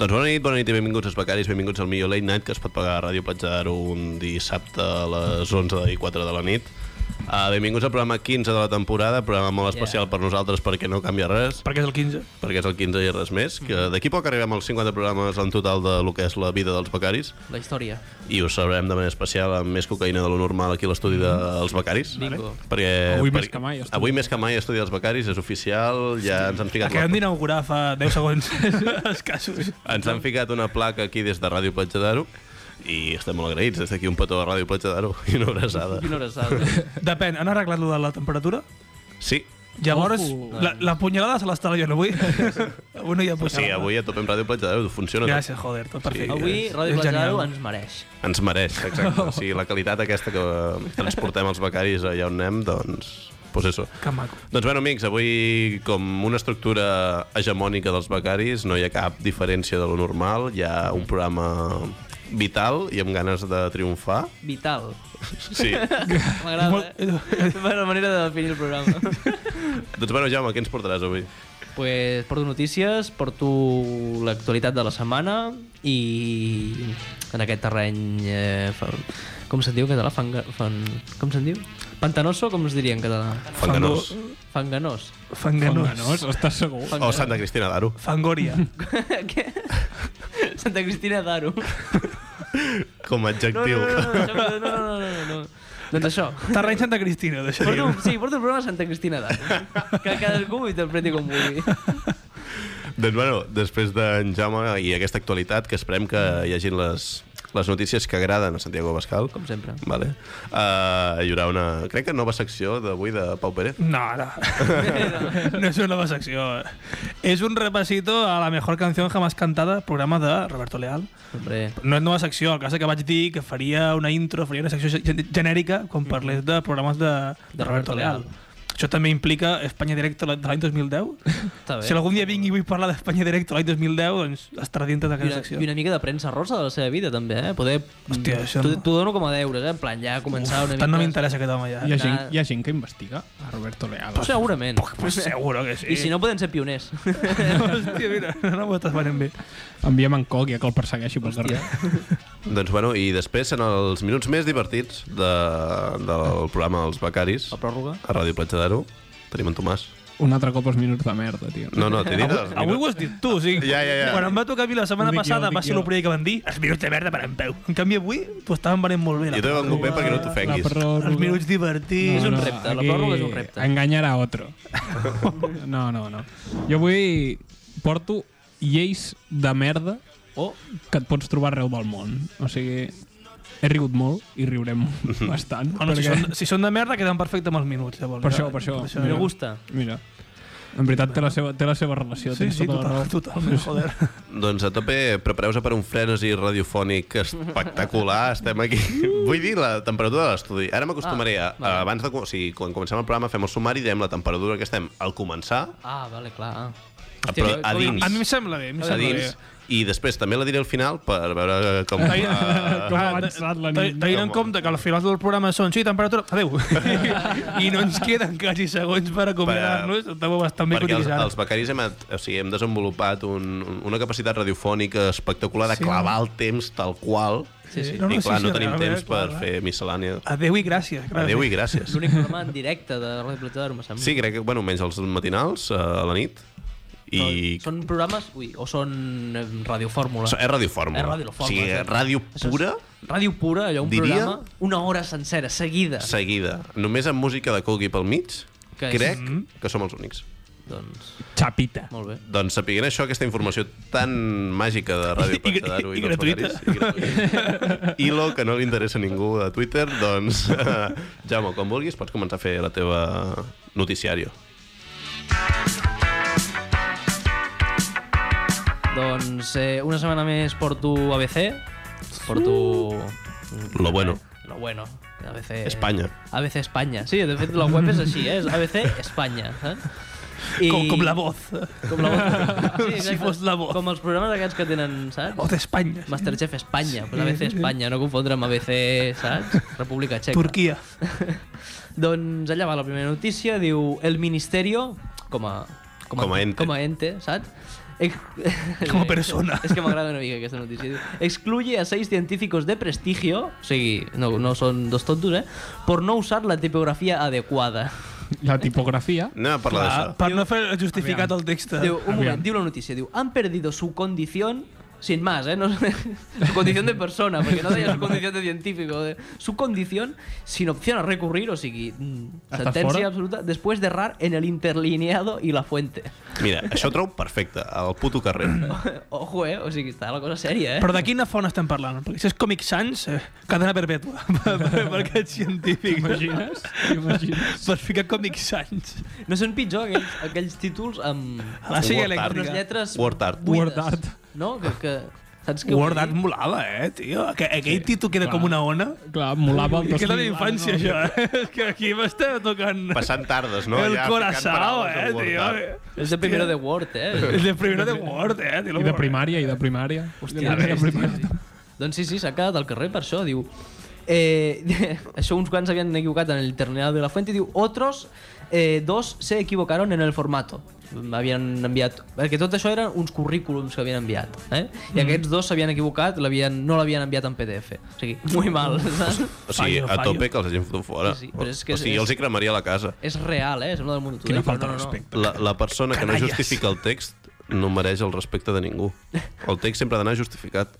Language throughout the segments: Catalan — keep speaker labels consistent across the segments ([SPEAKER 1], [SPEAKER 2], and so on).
[SPEAKER 1] Doncs bona nit, bona nit i benvinguts als becaris, benvinguts al millor Late Night, que es pot pagar a Ràdio Platja d'Aro un dissabte a les 11 i 4 de la nit. Uh, benvinguts al programa 15 de la temporada, programa molt especial yeah. per nosaltres perquè no canvia res,
[SPEAKER 2] Perquè és el 15.
[SPEAKER 1] perquè és el 15 i res més, que
[SPEAKER 2] Mm-hmm.
[SPEAKER 1] d'aquí a poc arribem als 50 programes en total de lo que és la vida dels becaris,
[SPEAKER 3] La història.
[SPEAKER 1] i ho sabrem de manera especial amb més cocaïna de lo normal aquí a l'estudi dels becaris.
[SPEAKER 3] Bingo.
[SPEAKER 1] Perquè,
[SPEAKER 2] Mm-hmm. Avui
[SPEAKER 1] per-
[SPEAKER 2] més que mai, estudi.
[SPEAKER 1] Avui més que mai estudi dels becaris, és oficial, ja ens han ficat... la-
[SPEAKER 2] Acabem d'inaugurar fa 10 segons escassos.
[SPEAKER 1] Ens han ficat una placa aquí des de Ràdio Platja d'Aro i estem molt agraïts. Des d'aquí un petó a Ràdio Platja d'Aro i una abraçada.
[SPEAKER 3] Quina hora és ara?
[SPEAKER 2] Depèn, han arreglat lo de la temperatura?
[SPEAKER 1] Sí,
[SPEAKER 2] Llavors,
[SPEAKER 3] Ojo.
[SPEAKER 2] la, la punyalada se l'estarà jo avui. avui no hi ha
[SPEAKER 1] o sigui,
[SPEAKER 2] punyalada.
[SPEAKER 1] avui a topem Ràdio Platja d'Aro, funciona. tot.
[SPEAKER 2] Gràcies, joder, tot perfecte.
[SPEAKER 3] Avui,
[SPEAKER 2] És-
[SPEAKER 3] Ràdio
[SPEAKER 2] és genial.
[SPEAKER 3] Platjaro ens mereix.
[SPEAKER 1] Ens mereix, exacte. O sigui, la qualitat aquesta que eh, transportem els becaris allà on anem, doncs... Pues eso.
[SPEAKER 2] Que maco.
[SPEAKER 1] Doncs bueno, amics, avui, com una estructura hegemònica dels becaris, no hi ha cap diferència de lo normal. Hi ha un programa vital i amb ganes de triomfar.
[SPEAKER 3] Vital.
[SPEAKER 1] Sí.
[SPEAKER 3] M'agrada,
[SPEAKER 2] Molt-
[SPEAKER 3] eh? la manera de definir el programa.
[SPEAKER 1] doncs bueno, Jaume, què ens portaràs avui?
[SPEAKER 3] pues porto notícies, porto l'actualitat de la setmana i en aquest terreny... Eh, fa, com se'n diu en català? Fanga, fan, com se'n diu? Pantanoso, com es diria en català?
[SPEAKER 1] Fanganós.
[SPEAKER 3] Fanganós.
[SPEAKER 2] Fanganós.
[SPEAKER 4] estàs segur?
[SPEAKER 1] O Santa Cristina d'Aro.
[SPEAKER 2] Fangoria.
[SPEAKER 3] Què? Santa Cristina d'Aro.
[SPEAKER 1] Com a
[SPEAKER 3] No,
[SPEAKER 1] adjectiu.
[SPEAKER 3] no, no, no, no, no, no, no, no, no. Doncs això.
[SPEAKER 2] Terreny Santa Cristina, d'això
[SPEAKER 3] Porto,
[SPEAKER 2] diu.
[SPEAKER 3] un- sí, porto el programa Santa Cristina d'Aro. Que cadascú ho interpreti com vulgui.
[SPEAKER 1] doncs bueno, després d'en Jaume i aquesta actualitat, que esperem que hi hagin les, les notícies que agraden a Santiago Bascal.
[SPEAKER 3] Com sempre.
[SPEAKER 1] Vale. Uh, hi haurà una, crec que nova secció d'avui de Pau Pérez.
[SPEAKER 2] No, ara. No és una nova secció. És un repasito a la mejor canción jamás cantada, programa de Roberto Leal.
[SPEAKER 3] Hombre,
[SPEAKER 2] No és nova secció, el cas és que vaig dir que faria una intro, faria una secció gen- genèrica quan
[SPEAKER 3] Mm-hmm.
[SPEAKER 2] parlés de programes de, de Roberto Leal. Això també implica Espanya Directa de l'any 2010.
[SPEAKER 3] està bé.
[SPEAKER 2] Si algun dia vinc i vull parlar d'Espanya Directa l'any 2010, doncs estarà dintre
[SPEAKER 3] I una,
[SPEAKER 2] d'aquesta
[SPEAKER 3] I
[SPEAKER 2] secció.
[SPEAKER 3] una mica de premsa rosa de la seva vida, també, eh? Poder...
[SPEAKER 2] Hòstia, això
[SPEAKER 3] T'ho
[SPEAKER 2] no.
[SPEAKER 3] t'ho dono com a deures, eh? En plan, ja començar una mica...
[SPEAKER 2] Tant no m'interessa aquest home ja.
[SPEAKER 4] Hi ha,
[SPEAKER 3] Anar-
[SPEAKER 4] gent, hi ha gent que investiga a Roberto Leal.
[SPEAKER 3] Però segurament.
[SPEAKER 2] Pues seguro que sí.
[SPEAKER 3] I si no, podem ser pioners.
[SPEAKER 2] Hòstia, mira, no m'ho estàs venent bé.
[SPEAKER 4] Enviem en Coc ja que el persegueixi pel carrer.
[SPEAKER 1] Doncs bueno, i després en els minuts més divertits de, del programa Els Becaris,
[SPEAKER 3] La pròrroga.
[SPEAKER 1] a Ràdio Platja d'Aro, tenim en Tomàs.
[SPEAKER 4] Un altre cop els minuts de merda, tio.
[SPEAKER 1] No, no, t'he dit els
[SPEAKER 2] Avui ho
[SPEAKER 1] minuts.
[SPEAKER 2] has dit tu, o sigui,
[SPEAKER 1] Ja, ja, ja.
[SPEAKER 2] quan em va tocar a mi la setmana
[SPEAKER 4] Ho dic jo,
[SPEAKER 2] passada
[SPEAKER 4] ho dic
[SPEAKER 2] va ser
[SPEAKER 4] jo.
[SPEAKER 2] el primer que van dir els minuts de merda per en peu. En canvi avui t'ho estaven venent molt bé.
[SPEAKER 1] Jo t'he
[SPEAKER 2] La...
[SPEAKER 1] vengut bé perquè no
[SPEAKER 4] La
[SPEAKER 1] t'ofenguis.
[SPEAKER 4] pròrroga-
[SPEAKER 2] Els minuts divertits,
[SPEAKER 3] És un
[SPEAKER 2] no, no.
[SPEAKER 3] repte, la pròrroga és un repte.
[SPEAKER 4] Enganyar a otro. No, no, no. Jo avui porto lleis de merda
[SPEAKER 3] Oh,
[SPEAKER 4] que et pots trobar arreu del món. O sigui, he rigut molt i riurem bastant.
[SPEAKER 2] Bueno, si, són, si són de merda queden perfecte amb els minuts, llavors. eh.
[SPEAKER 4] Per això, per això.
[SPEAKER 3] me gusta.
[SPEAKER 4] Mira, en veritat té la seva, té la seva relació.
[SPEAKER 2] Sí,
[SPEAKER 4] tens
[SPEAKER 2] sí,
[SPEAKER 4] tota la raó.
[SPEAKER 2] total, totalment, joder.
[SPEAKER 1] Doncs a tope, prepareu-se per un frenesi radiofònic espectacular, estem aquí. Vull dir la temperatura de l'estudi. Ara m'acostumaré, ah,
[SPEAKER 3] Ah,
[SPEAKER 1] vale.
[SPEAKER 3] vale.
[SPEAKER 1] abans de... co- O sigui, quan comencem el programa fem el sumari i direm la temperatura que estem al començar,
[SPEAKER 3] Ah, vale, clar. ah.
[SPEAKER 1] Ah, però
[SPEAKER 3] jo-
[SPEAKER 1] a
[SPEAKER 3] jo-
[SPEAKER 1] dins.
[SPEAKER 2] A mi em sembla bé, a mi em
[SPEAKER 1] a
[SPEAKER 2] sembla bé.
[SPEAKER 1] dins, i després també la diré al final per veure com...
[SPEAKER 4] Ai,
[SPEAKER 1] Uh,
[SPEAKER 4] com ha avançat la
[SPEAKER 2] Te-
[SPEAKER 4] nit.
[SPEAKER 2] Ah, Tenint en compte que al final del programa són sí, temperatura, adeu. I no ens queden quasi segons per acomiadar-nos, estava bastant bé
[SPEAKER 1] perquè els,
[SPEAKER 2] cotitzant.
[SPEAKER 1] els becaris hem, at- o sigui, hem desenvolupat un, un- una capacitat radiofònica espectacular de
[SPEAKER 2] Sí,
[SPEAKER 1] clavar el temps tal qual
[SPEAKER 3] Sí, sí.
[SPEAKER 2] No, no,
[SPEAKER 1] i clar,
[SPEAKER 2] sí,
[SPEAKER 1] no
[SPEAKER 2] sí,
[SPEAKER 1] tenim
[SPEAKER 2] a veure,
[SPEAKER 1] temps per
[SPEAKER 2] clar,
[SPEAKER 1] fer
[SPEAKER 4] eh.
[SPEAKER 1] miscel·lània.
[SPEAKER 2] Adeu i gràcies. gràcies.
[SPEAKER 1] Adéu i gràcies.
[SPEAKER 3] L'únic programa en directe de Ràdio Platja d'Aro, em sembla.
[SPEAKER 1] Sí, crec que, bueno, menys els matinals, eh, a la nit. I...
[SPEAKER 3] Són programes... Ui, o són eh, radiofórmula.
[SPEAKER 1] So- És radiofórmula.
[SPEAKER 3] És radiofórmula,
[SPEAKER 1] O sigui,
[SPEAKER 3] sí.
[SPEAKER 1] ràdio
[SPEAKER 3] Això és
[SPEAKER 1] pura,
[SPEAKER 3] Ràdio pura, allò, un
[SPEAKER 1] Diria-
[SPEAKER 3] programa, una hora sencera, seguida.
[SPEAKER 1] seguida. Només amb música de Coqui pel mig,
[SPEAKER 3] Que
[SPEAKER 1] que
[SPEAKER 3] és- Mm-hmm.
[SPEAKER 1] crec que som els únics.
[SPEAKER 3] Doncs,
[SPEAKER 4] Chapita.
[SPEAKER 3] molt bé.
[SPEAKER 1] Doncs sapiguent això, aquesta informació tan màgica de Ràdio
[SPEAKER 2] I- i-
[SPEAKER 1] Platja d'Aro
[SPEAKER 2] i
[SPEAKER 1] dels
[SPEAKER 2] gratuïta.
[SPEAKER 1] Becaris, i gratuïta. Hilo, que no li interessa a ningú a Twitter, doncs, eh, Jaume, quan vulguis, pots començar a fer la teva noticiario.
[SPEAKER 3] Doncs eh, una setmana més porto ABC, porto...
[SPEAKER 1] Lo bueno.
[SPEAKER 3] Lo bueno, ABC...
[SPEAKER 1] Espanya.
[SPEAKER 3] ABC Espanya. Sí, de fet la web és així, eh? És ABC Espanya. Eh?
[SPEAKER 2] Com, com la voz. eh.
[SPEAKER 3] Com la voz.
[SPEAKER 2] Si
[SPEAKER 3] exacte.
[SPEAKER 2] fos la voz.
[SPEAKER 3] Com els programes aquests que tenen, saps?
[SPEAKER 2] O d'Espanya.
[SPEAKER 3] Masterchef Espanya, pues ABC Espanya, no confondre amb ABC, saps? República Txeca.
[SPEAKER 2] Turquia.
[SPEAKER 3] Doncs allà va la primera notícia, diu el ministerio, com a,
[SPEAKER 1] Com a ente.
[SPEAKER 3] com a ente saps? Ex-
[SPEAKER 2] Como persona.
[SPEAKER 3] Es que m'agrada una mica aquesta notícia. Diu, Excluye a seis científicos de prestigio, o sigui, no, no són dos tontos, eh, por no usar la tipografia adequada.
[SPEAKER 4] La tipografia.
[SPEAKER 1] Anem a parlar
[SPEAKER 2] Ah,
[SPEAKER 1] d'això.
[SPEAKER 2] per no fer justificat el text.
[SPEAKER 3] Diu, un
[SPEAKER 4] Aviam.
[SPEAKER 3] moment, diu la notícia, diu, han perdido su condición sin más, ¿eh? No, su condición de persona, porque no deia su condición de científico. de- su condición sin opción a recurrir, o sigui, mm,
[SPEAKER 4] Està
[SPEAKER 3] sentencia
[SPEAKER 4] fora?
[SPEAKER 3] absoluta, después de errar en el interlineado y la fuente.
[SPEAKER 1] Mira, això ho trobo perfecte, al puto carrer.
[SPEAKER 3] Ojo, eh? O sigui, està la cosa seria, eh?
[SPEAKER 2] Però de quina font estem parlant? Perquè si és Comic Sans, eh, cadena perpètua per, per, per aquests científics.
[SPEAKER 4] T'imagines? T'imagines?
[SPEAKER 2] Per ficar Comic Sans.
[SPEAKER 3] No són pitjor aquells, aquells títols amb
[SPEAKER 2] A la sèrie
[SPEAKER 1] Word art.
[SPEAKER 3] unes
[SPEAKER 2] elèctrica.
[SPEAKER 3] lletres
[SPEAKER 1] Word art.
[SPEAKER 3] buides,
[SPEAKER 4] Word art.
[SPEAKER 3] No? Que, que, saps què
[SPEAKER 2] Word
[SPEAKER 3] vull
[SPEAKER 2] Art
[SPEAKER 3] dir?
[SPEAKER 2] molava, eh, tio? Aqu aquell títol queda com una ona.
[SPEAKER 4] Clar, molava el
[SPEAKER 2] I queda de
[SPEAKER 4] 2000.
[SPEAKER 2] infància, això, eh? És que aquí m'està tocant...
[SPEAKER 1] Passant tardes, no?
[SPEAKER 2] el
[SPEAKER 1] Allà ficant
[SPEAKER 2] corazón,
[SPEAKER 1] paraules
[SPEAKER 2] eh,
[SPEAKER 1] al Word Art.
[SPEAKER 2] tio?
[SPEAKER 3] És de primero de Word, eh?
[SPEAKER 2] El de primero de Word, eh? tio,
[SPEAKER 4] I de primària, i de primària.
[SPEAKER 3] Hòstia,
[SPEAKER 4] de
[SPEAKER 3] ves,
[SPEAKER 4] primària.
[SPEAKER 3] tio. Doncs sí, sí, s'ha quedat al carrer per això, diu... Eh, això uns quants havien equivocat en el terminal de la fuente, diu, otros eh, dos se equivocaron en el formato. Havien enviat... Perquè tot això eren uns currículums que havien enviat, eh? I
[SPEAKER 2] Mm.
[SPEAKER 3] aquests dos s'havien equivocat, l'havien- no l'havien enviat en PDF. O sigui, muy mal, saps?
[SPEAKER 1] O sigui,
[SPEAKER 2] Fallo,
[SPEAKER 1] a
[SPEAKER 2] fallo.
[SPEAKER 1] tope que els hagin fotut fora.
[SPEAKER 3] Sí, sí, però és que
[SPEAKER 1] o sigui,
[SPEAKER 3] és-
[SPEAKER 1] jo els hi cremaria la casa.
[SPEAKER 3] És real, eh? Sembla del món de
[SPEAKER 2] Quina
[SPEAKER 3] Tudell, però
[SPEAKER 2] falta de
[SPEAKER 3] no, no, no.
[SPEAKER 2] respecte.
[SPEAKER 1] La, la persona que no
[SPEAKER 2] Canalles.
[SPEAKER 1] justifica el text no mereix el respecte de ningú. El text sempre ha d'anar justificat.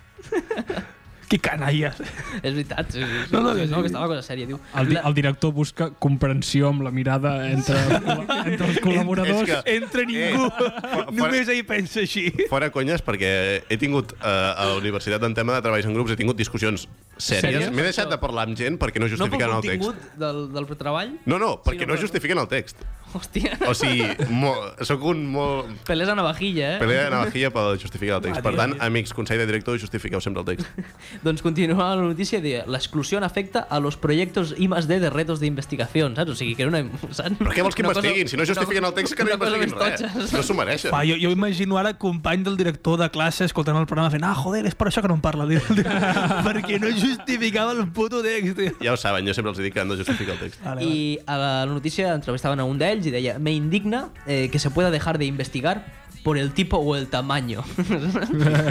[SPEAKER 2] Que canalles.
[SPEAKER 3] És veritat, sí, sí. sí.
[SPEAKER 2] No, no,
[SPEAKER 3] sí,
[SPEAKER 2] que sí.
[SPEAKER 3] no, que estava cosa sèria, diu.
[SPEAKER 4] El, di
[SPEAKER 3] La-
[SPEAKER 4] el director busca comprensió amb la mirada entre, entre els col·laboradors.
[SPEAKER 1] És que- Eh,
[SPEAKER 2] Entra ningú.
[SPEAKER 1] fora-
[SPEAKER 2] Només ell pensa així.
[SPEAKER 1] Fora conyes, perquè he tingut eh, a la universitat en tema de treballs en grups, he tingut discussions sèries.
[SPEAKER 4] Sèries?
[SPEAKER 1] M'he deixat de parlar amb gent perquè no
[SPEAKER 3] No pel
[SPEAKER 1] justifiquen el text.
[SPEAKER 3] contingut del, del treball?
[SPEAKER 1] No, no, perquè
[SPEAKER 3] Sinó
[SPEAKER 1] no
[SPEAKER 3] per-
[SPEAKER 1] justifiquen el text.
[SPEAKER 3] Hòstia.
[SPEAKER 1] O sigui, mo, soc un molt...
[SPEAKER 3] Pelés a navajilla, eh?
[SPEAKER 1] Pelea de navajilla per justificar el text.
[SPEAKER 2] Ah,
[SPEAKER 1] Per
[SPEAKER 2] tio,
[SPEAKER 1] tant,
[SPEAKER 2] tio.
[SPEAKER 1] amics, consell de director, justifiqueu sempre el text.
[SPEAKER 3] Doncs continua la notícia i deia, la exclusión afecta a los proyectos I más D de retos de investigación, saps? O sigui, que era una... Saps?
[SPEAKER 1] Però què vols que investiguin? Si no justifiquen el text, que no investiguin res. No s'ho mereixen.
[SPEAKER 2] Va, jo, jo imagino ara company del director de classe escoltant el programa fent ah, joder, és per això que no en parla. tio". Perquè no justificava el puto text. tio.
[SPEAKER 1] Ja ho saben, jo sempre els dic que han de justificar el text.
[SPEAKER 2] Vale, vale.
[SPEAKER 3] I a la notícia entrevistaven a un d'ells i deia me indigna eh, que se pueda dejar de investigar por el tipo o el tamaño.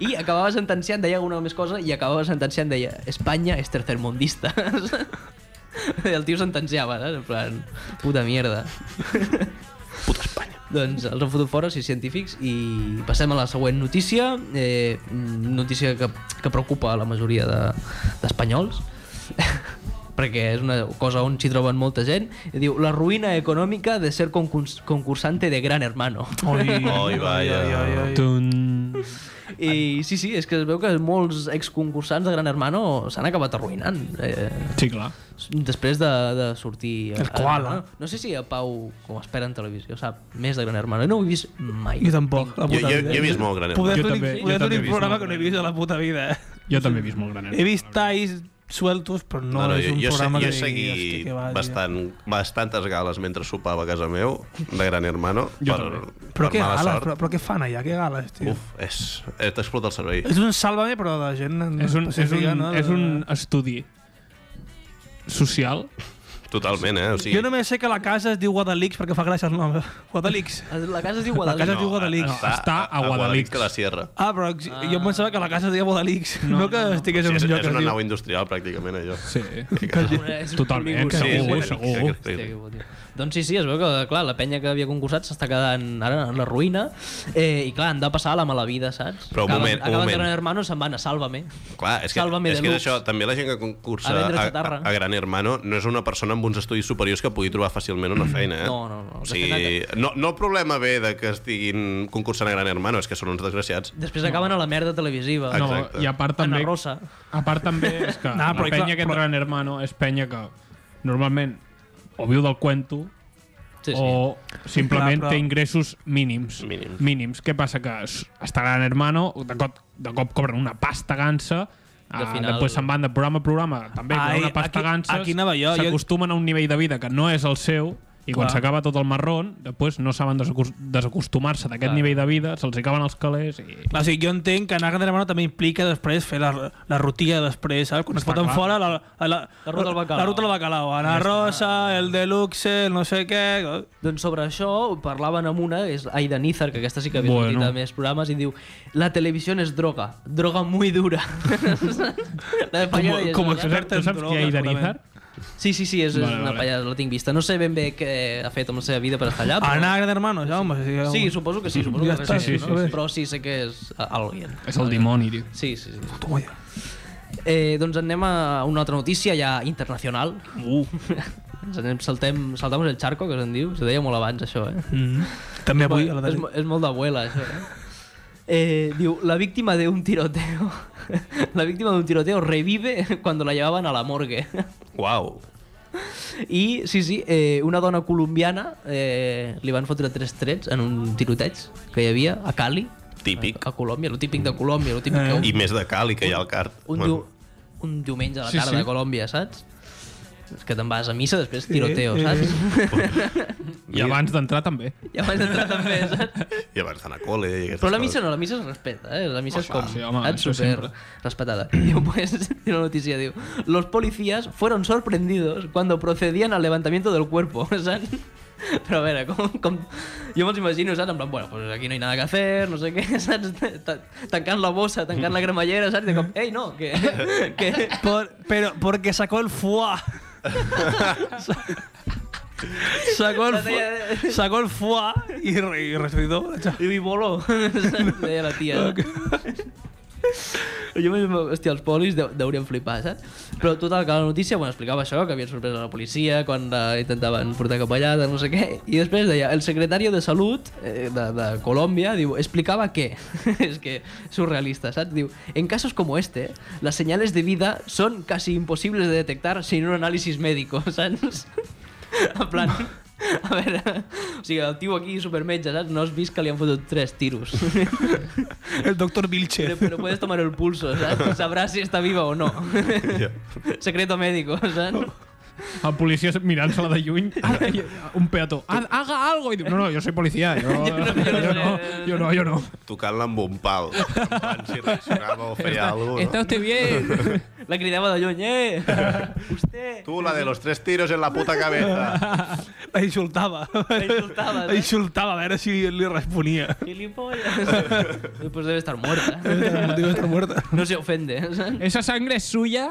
[SPEAKER 3] I acabava sentenciant, deia alguna més cosa, i acabava sentenciant, deia Espanya és tercermundista. el tio sentenciava, saps? En plan, puta mierda.
[SPEAKER 1] Puta Espanya.
[SPEAKER 3] Doncs els han fotut fora, sis científics, i passem a la següent notícia, eh, notícia que, que preocupa a la majoria de- d'espanyols, de, perquè és una cosa on s'hi troben molta gent, i diu la ruïna econòmica de ser concurs concursante de Gran Hermano.
[SPEAKER 2] Oi,
[SPEAKER 1] Oi, vaya.
[SPEAKER 4] Tun.
[SPEAKER 3] I sí, sí, és que es veu que molts exconcursants de Gran Hermano s'han acabat arruïnant. Eh,
[SPEAKER 4] Sí, clar.
[SPEAKER 3] després de, de sortir... a- a-
[SPEAKER 2] El koala.
[SPEAKER 3] no sé si a Pau, com espera en televisió, sap més de Gran Hermano. No ho he vist mai.
[SPEAKER 2] Jo tampoc. La
[SPEAKER 1] Jo,
[SPEAKER 2] puta
[SPEAKER 1] jo,
[SPEAKER 2] vida.
[SPEAKER 1] jo he vist molt eh? gran.
[SPEAKER 2] Poder
[SPEAKER 4] Jo
[SPEAKER 2] fer un,
[SPEAKER 4] també- jo
[SPEAKER 2] poder fer
[SPEAKER 4] també he
[SPEAKER 2] un
[SPEAKER 4] vist
[SPEAKER 2] programa
[SPEAKER 4] molt
[SPEAKER 2] que no he vist a la puta vida. eh.
[SPEAKER 4] Jo també he vist molt eh? granet.
[SPEAKER 2] He vist talls sueltos, però no, és un
[SPEAKER 1] jo,
[SPEAKER 2] programa
[SPEAKER 1] jo,
[SPEAKER 2] que
[SPEAKER 1] seguí
[SPEAKER 2] digui, "Hosti, què va, tio".
[SPEAKER 1] bastant, bastantes gales mentre sopava a casa meu, de Gran Hermano,
[SPEAKER 4] Jo
[SPEAKER 1] per,
[SPEAKER 2] Però
[SPEAKER 1] per
[SPEAKER 2] què
[SPEAKER 1] mala
[SPEAKER 2] gales,
[SPEAKER 1] sort.
[SPEAKER 2] però, però què fan allà? Què gales, tio?
[SPEAKER 1] Uf, és... eh, T'explota el cervell.
[SPEAKER 2] És un sàlvame, però de gent
[SPEAKER 4] És un, és
[SPEAKER 2] específica,
[SPEAKER 4] un,
[SPEAKER 2] no?
[SPEAKER 4] és un estudi social.
[SPEAKER 1] Totalment, eh? O sigui,
[SPEAKER 2] Jo només sé que la casa es diu Guadalix perquè fa gràcia el nom. Guadalix.
[SPEAKER 3] La casa es diu
[SPEAKER 2] La
[SPEAKER 3] Guadalix.
[SPEAKER 2] casa es diu Guadalix.
[SPEAKER 4] no, està a Guadalix.
[SPEAKER 1] a la Sierra.
[SPEAKER 2] Ah, però ex- jo em pensava que la casa es deia Guadalix, no, que estigués
[SPEAKER 1] Sí,
[SPEAKER 2] en
[SPEAKER 1] és,
[SPEAKER 2] un lloc
[SPEAKER 1] és
[SPEAKER 2] que es
[SPEAKER 1] una nau
[SPEAKER 2] diu...
[SPEAKER 1] industrial, pràcticament, allò.
[SPEAKER 4] Sí.
[SPEAKER 3] És un
[SPEAKER 4] Totalment,
[SPEAKER 3] polígon.
[SPEAKER 1] Sí,
[SPEAKER 4] segur,
[SPEAKER 1] sí,
[SPEAKER 4] segur.
[SPEAKER 1] sí, sí.
[SPEAKER 3] Hòstia, que bo, tio. Doncs sí, sí, es veu que, clar, la penya que havia concursat s'està quedant ara en la ruïna eh, i, clar, han de passar a la mala vida, saps?
[SPEAKER 1] Però un
[SPEAKER 3] acaben,
[SPEAKER 1] moment, un
[SPEAKER 3] acaben
[SPEAKER 1] moment.
[SPEAKER 3] Gran Hermano, se'n van a Sálvame.
[SPEAKER 1] Clar, és que,
[SPEAKER 3] Sálvame
[SPEAKER 1] és,
[SPEAKER 3] de
[SPEAKER 1] que és
[SPEAKER 3] Lux.
[SPEAKER 1] això, també la gent que concursa
[SPEAKER 3] A vendre
[SPEAKER 1] a, a,
[SPEAKER 3] chatarra.
[SPEAKER 1] a Gran Hermano no és una persona amb uns estudis superiors que pugui trobar fàcilment una feina, eh?
[SPEAKER 3] Mm. No, no, no.
[SPEAKER 1] O sigui, no, no el problema ve de que estiguin concursant a Gran Hermano, és que són uns desgraciats.
[SPEAKER 3] Després acaben a la merda televisiva.
[SPEAKER 4] No,
[SPEAKER 1] Exacte.
[SPEAKER 4] i a part
[SPEAKER 3] Ana
[SPEAKER 4] també...
[SPEAKER 3] Rosa.
[SPEAKER 4] A part també és que
[SPEAKER 2] No,
[SPEAKER 4] no,
[SPEAKER 2] però
[SPEAKER 4] la penya
[SPEAKER 2] clar,
[SPEAKER 4] que
[SPEAKER 2] però-
[SPEAKER 4] Gran Hermano és penya que normalment o viu del cuento
[SPEAKER 3] Sí, sí.
[SPEAKER 4] o simplement
[SPEAKER 2] Clar, però-
[SPEAKER 4] té ingressos mínims.
[SPEAKER 1] Mínims.
[SPEAKER 4] mínims. Què passa? Que s- està Gran Hermano, de cop, de cop cobren una pasta gansa,
[SPEAKER 3] Al
[SPEAKER 4] de final...
[SPEAKER 3] final-
[SPEAKER 4] després se'n van de programa a programa, també Ai,
[SPEAKER 2] Ai,
[SPEAKER 4] una pasta
[SPEAKER 2] aquí-
[SPEAKER 4] gansa,
[SPEAKER 2] aquí anava jo, jo-
[SPEAKER 4] s'acostumen a un nivell de vida que no és el seu, I quan
[SPEAKER 2] Clar.
[SPEAKER 4] s'acaba tot el marrón, després no saben desacos- desacostumar-se d'aquest
[SPEAKER 3] Clar.
[SPEAKER 4] nivell de vida, se'ls acaben els calés i...
[SPEAKER 2] Clar, o sigui, jo entenc que anar de la mano també implica després fer la, la rutia després, saps? Quan es
[SPEAKER 4] Està
[SPEAKER 2] foten
[SPEAKER 4] clar.
[SPEAKER 2] fora la, la, la,
[SPEAKER 3] La ruta del bacalao.
[SPEAKER 2] La ruta del bacalao. Anar rosa, el deluxe, el no sé què...
[SPEAKER 3] Doncs sobre això ho parlaven amb una, és Aida Nizar, que aquesta sí que havia
[SPEAKER 4] Bueno.
[SPEAKER 3] bueno. sortit a més programes, i diu la televisió és droga, droga muy dura. la de
[SPEAKER 2] Com,
[SPEAKER 3] pallada i
[SPEAKER 2] com
[SPEAKER 3] això, saps?
[SPEAKER 2] experta
[SPEAKER 4] Tu
[SPEAKER 2] en
[SPEAKER 4] saps qui
[SPEAKER 2] drogues,
[SPEAKER 4] hi ha
[SPEAKER 2] segurament.
[SPEAKER 4] Idarizar?
[SPEAKER 3] Sí, sí, sí, és, vale,
[SPEAKER 4] Vale,
[SPEAKER 3] és una
[SPEAKER 4] vale.
[SPEAKER 3] pallada, la tinc vista. No sé ben bé què ha fet amb la seva vida per estar allà, Ah, però...
[SPEAKER 2] Anar a Gran Hermano, ja, home. Sí, home.
[SPEAKER 3] Sí, suposo que sí, suposo
[SPEAKER 2] Ja
[SPEAKER 3] que
[SPEAKER 2] està,
[SPEAKER 3] sí,
[SPEAKER 4] sí,
[SPEAKER 3] no?
[SPEAKER 4] sí, sí.
[SPEAKER 3] Però sí, sé que és a- a l'Orient.
[SPEAKER 4] És el dimoni, tio.
[SPEAKER 3] Sí, sí, sí.
[SPEAKER 2] Tu, molla.
[SPEAKER 3] Eh, doncs anem a una altra notícia ja internacional.
[SPEAKER 2] Uh.
[SPEAKER 3] Ens anem, saltem, saltamos el charco, que se'n diu. Se deia molt abans, això, eh?
[SPEAKER 2] Mm. També avui a la
[SPEAKER 3] és,
[SPEAKER 2] tele.
[SPEAKER 3] mo- és molt d'abuela, això, eh? Eh, diu, la víctima de un tiroteo la víctima de un tiroteo revive cuando la llevaban a la morgue
[SPEAKER 1] Uau.
[SPEAKER 3] i sí, sí, eh, una dona colombiana eh, li van fotre tres trets en un tiroteig que hi havia a Cali
[SPEAKER 1] Típic.
[SPEAKER 3] a, a Colòmbia, lo típic de Colòmbia lo típic
[SPEAKER 2] Eh.
[SPEAKER 3] que un,
[SPEAKER 1] I més de Cali, que hi ha al cart.
[SPEAKER 3] un, diu, un diumenge a la
[SPEAKER 4] Sí,
[SPEAKER 3] tarda
[SPEAKER 4] sí.
[SPEAKER 3] a Colòmbia, saps? És que te'n vas a missa, després
[SPEAKER 2] Sí,
[SPEAKER 3] tiroteo,
[SPEAKER 2] eh.
[SPEAKER 3] saps?
[SPEAKER 4] I abans d'entrar també.
[SPEAKER 3] Ja vaig entrar també, saps?
[SPEAKER 1] I abans d'anar a col·le. i aquestes
[SPEAKER 3] Però la missa
[SPEAKER 1] coses.
[SPEAKER 3] no, la missa es respeta, eh? La missa és com,
[SPEAKER 4] sí, home,
[SPEAKER 3] saps?
[SPEAKER 4] això
[SPEAKER 3] Super
[SPEAKER 4] sempre.
[SPEAKER 3] respetada. Diu, pues, tiene una noticia, diu, los policías fueron sorprendidos cuando procedían al levantamiento del cuerpo, saps? Però a veure, com, com... jo me'ls imagino, saps? En plan, bueno, pues aquí no hay nada que hacer, no sé què, saps? Ta- Tancant la bossa, tancant la cremallera, saps? I de cop, ei, no, que... que...
[SPEAKER 2] Por, pero porque sacó el fuá. sacó el fuá, sacó el fuá y, re- y resucitó.
[SPEAKER 3] I voló, saps? Deia la tia. Jo m'imagino, hòstia, els polis deu, deurien flipar, saps? Però total, que la notícia, bueno, explicava això, que havien sorprès a la policia quan la intentaven portar cap allà, de no sé què, i després deia, el secretari de Salut eh, de, de Colòmbia, diu, explicava què? és que surrealista, saps? Diu, en casos como este, las señales de vida son casi imposibles de detectar sin un análisis médico, saps? en plan... A veure, o sigui, el tio aquí supermetge, saps? No has vist que li han fotut tres tiros.
[SPEAKER 2] El doctor
[SPEAKER 3] Pero,
[SPEAKER 2] Vilche.
[SPEAKER 3] pero puedes tomar el pulso, ¿sabes? Sabrás si está viva o no.
[SPEAKER 1] Ja.
[SPEAKER 3] Secreto médico, ¿sabes?
[SPEAKER 4] El policia mirant-se-la de lluny, ara, i- un peató, "Ha- haga algo! I diu, no, no, jo soy policia, jo, jo, no,
[SPEAKER 3] no,
[SPEAKER 4] jo, no,
[SPEAKER 3] sé.
[SPEAKER 4] jo no, jo no.
[SPEAKER 1] Tocant-la amb un pal. En plan, si reaccionava o feia alguna cosa.
[SPEAKER 4] usted bien?
[SPEAKER 3] La gritaba de John, ¡eh! ¡Usted!
[SPEAKER 1] Tu, la de los tres tiros en la puta cabeza.
[SPEAKER 2] La insultava.
[SPEAKER 3] La insultava,
[SPEAKER 2] La insultava, a veure si li responia.
[SPEAKER 3] ¡Gilipollas! Pues debe estar muerta.
[SPEAKER 2] El motiu d'estar muerta.
[SPEAKER 3] No se ofende, ¿eh? ¿sabes?
[SPEAKER 4] Esa sangre es suya?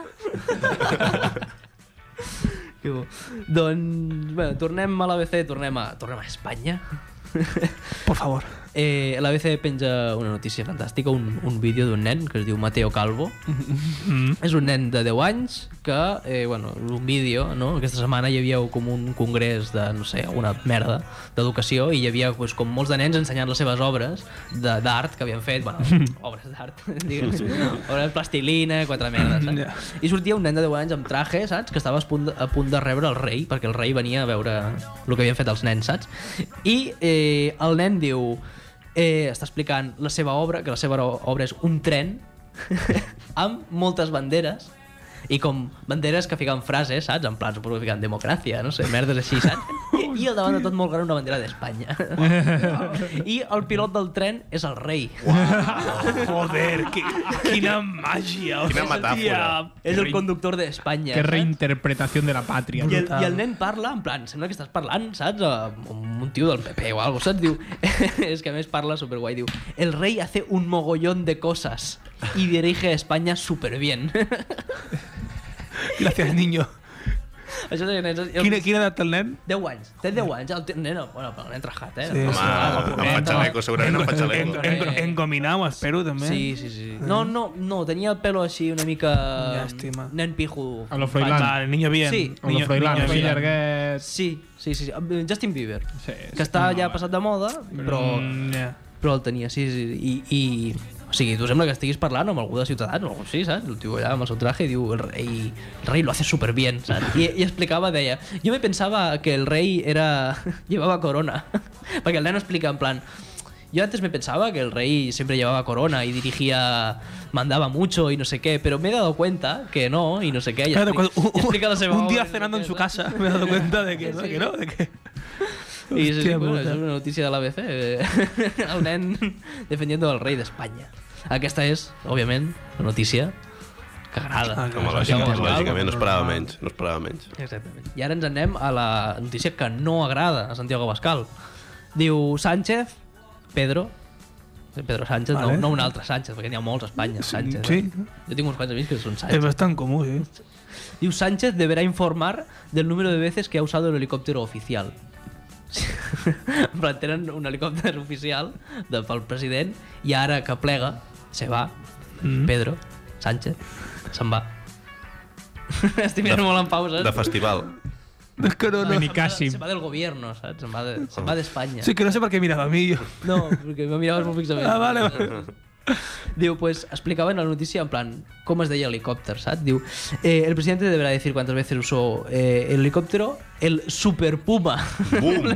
[SPEAKER 3] Qué bo. Doncs, bueno, tornem a l'ABC, tornem a, tornem a Espanya.
[SPEAKER 2] Por favor.
[SPEAKER 3] Eh, L'ABC penja una notícia fantàstica, un, un vídeo d'un nen que es diu Mateo Calvo,
[SPEAKER 2] Mm.
[SPEAKER 3] És un nen de 10 anys que, eh, bueno, un vídeo, no? Aquesta setmana hi havia com un congrés de, no sé, una merda d'educació i hi havia pues, com molts de nens ensenyant les seves obres de- d'art que havien fet, bueno, obres d'art, diguem, obres de plastilina, quatre merdes, saps?
[SPEAKER 2] Ja.
[SPEAKER 3] I sortia un nen de 10 anys amb traje, saps? Que estava a punt de, a punt de rebre el rei, perquè el rei venia a veure el que havien fet els nens, saps? I eh, el nen diu... Eh, està explicant la seva obra, que la seva obra és un tren amb moltes banderes i com banderes que fiquen frases, saps? En plan, suposo que fiquen democràcia, no sé, merdes així, saps? I, i al davant de tot molt gran una bandera d'Espanya. I el pilot del tren és el rei.
[SPEAKER 2] Joder, que, quina màgia.
[SPEAKER 1] Quina
[SPEAKER 2] hòstia.
[SPEAKER 1] metàfora.
[SPEAKER 3] És el conductor d'Espanya.
[SPEAKER 4] Qué
[SPEAKER 3] saps?
[SPEAKER 4] reinterpretación de la
[SPEAKER 3] I
[SPEAKER 4] patria.
[SPEAKER 3] el,
[SPEAKER 2] Brutal.
[SPEAKER 3] I el nen parla, en plan, sembla que estàs parlant, saps? Amb un un tio del PP o alguna cosa, saps? Diu, és que a més parla superguai, diu El rei hace un mogollón de cosas y dirige España superbien.
[SPEAKER 2] Gràcies, niño.
[SPEAKER 3] Això és, és, és,
[SPEAKER 2] Quina, quina edat té el nen?
[SPEAKER 3] 10 anys, té 10 anys, el té, nena, bueno, però l'hem trajat, eh?
[SPEAKER 2] Sí,
[SPEAKER 1] Home, em fa xaleco, segurament em fa
[SPEAKER 2] En,
[SPEAKER 1] xaleco.
[SPEAKER 2] en, engominau, espero, també.
[SPEAKER 3] Sí, sí, sí. No, no, no, tenia el pelo així una mica...
[SPEAKER 2] Llàstima.
[SPEAKER 3] Nen pijo.
[SPEAKER 4] A lo Froilán.
[SPEAKER 2] Fatal, niño bien.
[SPEAKER 3] Sí.
[SPEAKER 4] A lo Froilán, així
[SPEAKER 2] bien.
[SPEAKER 4] llarguet.
[SPEAKER 3] Sí, sí, sí, sí. Justin Bieber.
[SPEAKER 4] Sí,
[SPEAKER 3] Que està ja passat de moda, però...
[SPEAKER 2] Mm, ja.
[SPEAKER 3] però el tenia, sí, sí, i, i... O sigui, tu sembla que estiguis parlant amb algú de Ciutadans o alguna cosa així, saps? El tio allà amb el seu traje diu el rei, el rei lo hace súper bien, saps? I, I explicava, deia, jo me pensava que el rei era... llevava corona, perquè el nen explica en plan Yo antes me pensaba que el rey siempre llevaba corona y dirigía, mandaba mucho y no sé qué, pero me he dado cuenta que no y no sé qué. Y
[SPEAKER 2] Claro,
[SPEAKER 3] expli-
[SPEAKER 2] cuando- un-
[SPEAKER 3] y explica la
[SPEAKER 2] un,
[SPEAKER 3] semana-
[SPEAKER 2] un día cenando en su casa me he dado cuenta de que no, que no, de que...
[SPEAKER 3] I sí, sí,
[SPEAKER 2] Hòstia
[SPEAKER 3] bueno,
[SPEAKER 2] puta.
[SPEAKER 3] és una notícia de l'ABC. eh, El nen defendint el rei d'Espanya. Aquesta és, òbviament, la notícia que agrada.
[SPEAKER 2] Ah,
[SPEAKER 1] Home,
[SPEAKER 3] Això
[SPEAKER 1] lògicament,
[SPEAKER 3] és
[SPEAKER 1] lògicament, no esperava
[SPEAKER 3] normal.
[SPEAKER 1] menys, no esperava menys.
[SPEAKER 3] Exactament. I ara ens en anem a la notícia que no agrada a Santiago Abascal. Diu Sánchez, Pedro, Pedro Sánchez,
[SPEAKER 2] Vale.
[SPEAKER 3] no, no un altre Sánchez, perquè n'hi ha molts a Espanya, Sánchez.
[SPEAKER 2] sí.
[SPEAKER 3] Eh? Jo tinc uns quants amics que són
[SPEAKER 2] Es
[SPEAKER 3] Sánchez.
[SPEAKER 2] bastante común, ¿eh? sí.
[SPEAKER 3] Diu Sánchez deberá informar del número de veces que ha usado el helicóptero oficial. en plan, tenen un helicòpter oficial de, pel president i ara que plega, se va,
[SPEAKER 2] Mm-hmm.
[SPEAKER 3] mm. Pedro Sánchez, se'n va. Estic mirant molt en pausa.
[SPEAKER 1] De festival.
[SPEAKER 2] Es que no, no.
[SPEAKER 4] Benicàssim.
[SPEAKER 3] Se va del gobierno, saps? Se'n va de- se'n va d'Espanya.
[SPEAKER 2] Sí, que no sé per què mirava a mi, jo.
[SPEAKER 3] No, perquè me miraves molt fixament.
[SPEAKER 2] Ah, vale, vale.
[SPEAKER 3] Diu, pues, explicaven la notícia en plan, com es deia helicòpter, saps? Diu, eh, el presidente deberá decir cuántas veces usó eh, el helicóptero, el Super Puma.
[SPEAKER 1] Bum!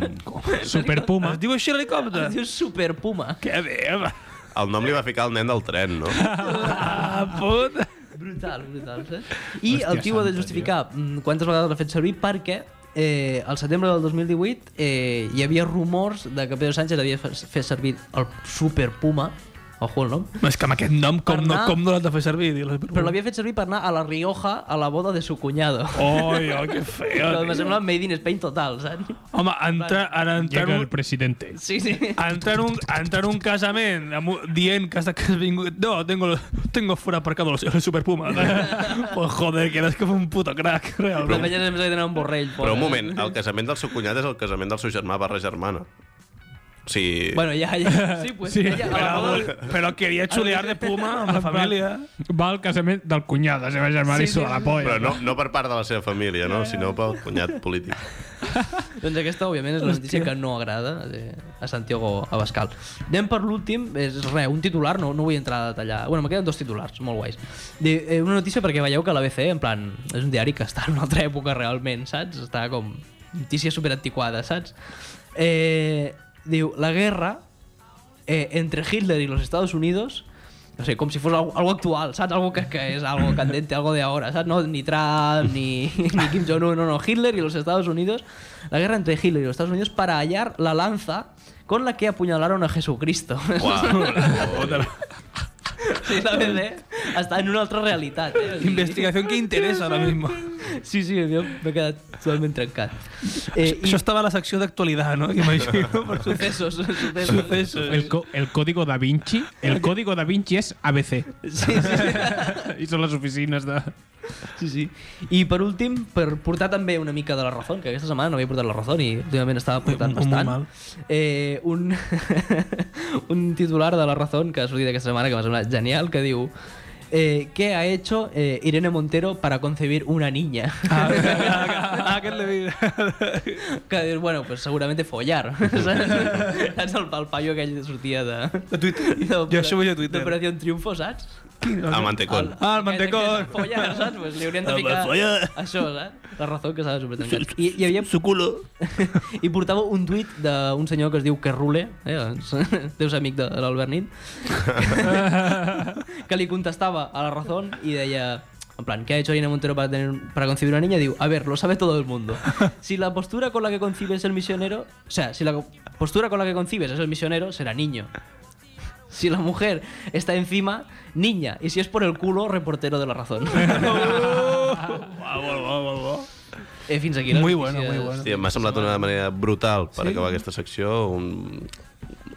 [SPEAKER 4] Super Puma.
[SPEAKER 2] Es diu així l'helicòpter?
[SPEAKER 3] Es diu Super Puma.
[SPEAKER 2] Què dius?
[SPEAKER 1] El nom li va ficar el nen del tren, no?
[SPEAKER 2] Ah, puta.
[SPEAKER 3] Brutal, brutal, saps? I el tio ha de justificar mm, quantes vegades l'ha fet servir perquè eh, al setembre del 2018 eh, hi havia rumors de que Pedro Sánchez havia fe- fet servir el Super Puma, ojo el nom,
[SPEAKER 2] És que amb aquest nom, com no,
[SPEAKER 3] Parlar-
[SPEAKER 2] com no l'has de fer servir? Mm.
[SPEAKER 3] però l'havia fet servir per anar a la Rioja a la boda de su cunyado.
[SPEAKER 2] Oi, oi, que feo.
[SPEAKER 3] Però me
[SPEAKER 2] Oh, tio.
[SPEAKER 3] sembla made in Spain total, saps?
[SPEAKER 2] Home, entrar, ara entrar,
[SPEAKER 4] Llega el
[SPEAKER 2] en un,
[SPEAKER 4] presidente.
[SPEAKER 3] Sí, sí.
[SPEAKER 2] entrar, en un, entrar en un casament amb un, dient que has, que has vingut... No, tengo, tengo fuera aparcado el Super Puma. pues joder, que eres com un puto crack,
[SPEAKER 3] La
[SPEAKER 2] realment.
[SPEAKER 3] penya sempre s'ha de tenir un borrell.
[SPEAKER 1] Però
[SPEAKER 3] pobre.
[SPEAKER 1] un moment, el casament del seu cunyat és el casament del seu germà barra germana. O sigui...
[SPEAKER 3] Bueno, ja, ja. Sí, pues,
[SPEAKER 4] Sí,
[SPEAKER 3] ja, ja, a la boda...
[SPEAKER 2] Però, però quería chulear de Puma amb la família.
[SPEAKER 4] Va al casament del cunyat, de seva germana
[SPEAKER 3] Sí,
[SPEAKER 4] i suda
[SPEAKER 3] sí,
[SPEAKER 4] la
[SPEAKER 3] sí.
[SPEAKER 4] polla.
[SPEAKER 1] Però no, no per part de la seva família, no? sinó pel cunyat polític.
[SPEAKER 3] Doncs aquesta, òbviament, és la notícia que no agrada eh, a Santiago Abascal. Anem per l'últim, és res, un titular, no, no vull entrar a detallar. Bueno, me queden dos titulars, molt guais. De, eh, una notícia perquè veieu que l'ABC, en plan, és un diari que està en una altra època realment, saps? Està com notícia superantiquada, saps? Eh, diu, la guerra eh, entre Hitler y los Estados Unidos, no sé, com si fos algo, algo actual, saps? Algo que, que és algo candente, algo de ahora, saps? No, ni Trump, ni, ni Kim Jong-un, no, no, Hitler y los Estados Unidos, la guerra entre Hitler y los Estados Unidos para hallar la lanza con la que apuñalaron a Jesucristo.
[SPEAKER 1] Uau.
[SPEAKER 3] Sí, la BD està en una altra realitat, eh? O sigui,
[SPEAKER 2] Investigación que interesa ahora mismo.
[SPEAKER 3] Sí, sí, jo m'he quedat totalment trencat. Eh, i
[SPEAKER 2] Això estava a la secció d'actualitat, no? Imagino. per suposat.
[SPEAKER 3] sucessos, sucessos.
[SPEAKER 2] Sucesos.
[SPEAKER 4] El, co- el código da Vinci el código da Vinci és ABC
[SPEAKER 3] Sí, sí, sí.
[SPEAKER 4] i són les oficines de...
[SPEAKER 3] Sí, sí. I per últim, per portar també una mica de la Razón, que aquesta setmana no havia portat la Razón i últimament estava portant
[SPEAKER 2] Un- un
[SPEAKER 3] bastant.
[SPEAKER 2] mal.
[SPEAKER 3] Eh, un, un titular de la Razón que ha sortit aquesta setmana que m'ha semblat genial, que diu eh, ¿Qué ha hecho eh, Irene Montero para concebir una niña?
[SPEAKER 2] Ah, ah, aquest l'he vist.
[SPEAKER 3] que dius, bueno, pues seguramente follar. saps? Saps el, el paio aquell que sortia de...
[SPEAKER 2] De Twitter. Jo això ho veig a Twitter.
[SPEAKER 3] D'Operació Triunfo, saps?
[SPEAKER 1] A Mantecón.
[SPEAKER 2] Ah, el mantecón.
[SPEAKER 3] Que, que és follar, saps? Pues li hauríem de
[SPEAKER 2] Ah,
[SPEAKER 3] ficar
[SPEAKER 2] follar.
[SPEAKER 3] això, saps? La raó que s'ha de supertancat. I, i, havia, I portava un tuit d'un senyor que es diu Carrule, eh? doncs, deu ser amic de l'Albert Nid, que li contestava a la raó i deia... En plan, ¿qué ha hecho Irene Montero para, tener, para concebir una niña? Digo, a ver, lo sabe todo el mundo. Si la postura con la que concibes el misionero... O sea, si la postura con la que concibes es el misionero, será niño. Si la mujer está encima, niña. Y si es por el culo, reportero de la razón. eh, fins aquí. les
[SPEAKER 2] Muy bueno,
[SPEAKER 3] notícies.
[SPEAKER 2] muy bueno.
[SPEAKER 1] Hòstia, m'ha semblat una manera brutal per acabar aquesta secció, un,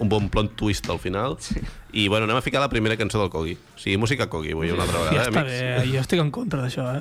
[SPEAKER 1] un bon plot twist al final. I bueno, anem a ficar la primera cançó del Kogi. O sigui, música Kogi, vull una altra
[SPEAKER 2] Ja
[SPEAKER 1] vegada,
[SPEAKER 2] està
[SPEAKER 1] amics.
[SPEAKER 2] bé, jo estic en contra d'això, eh?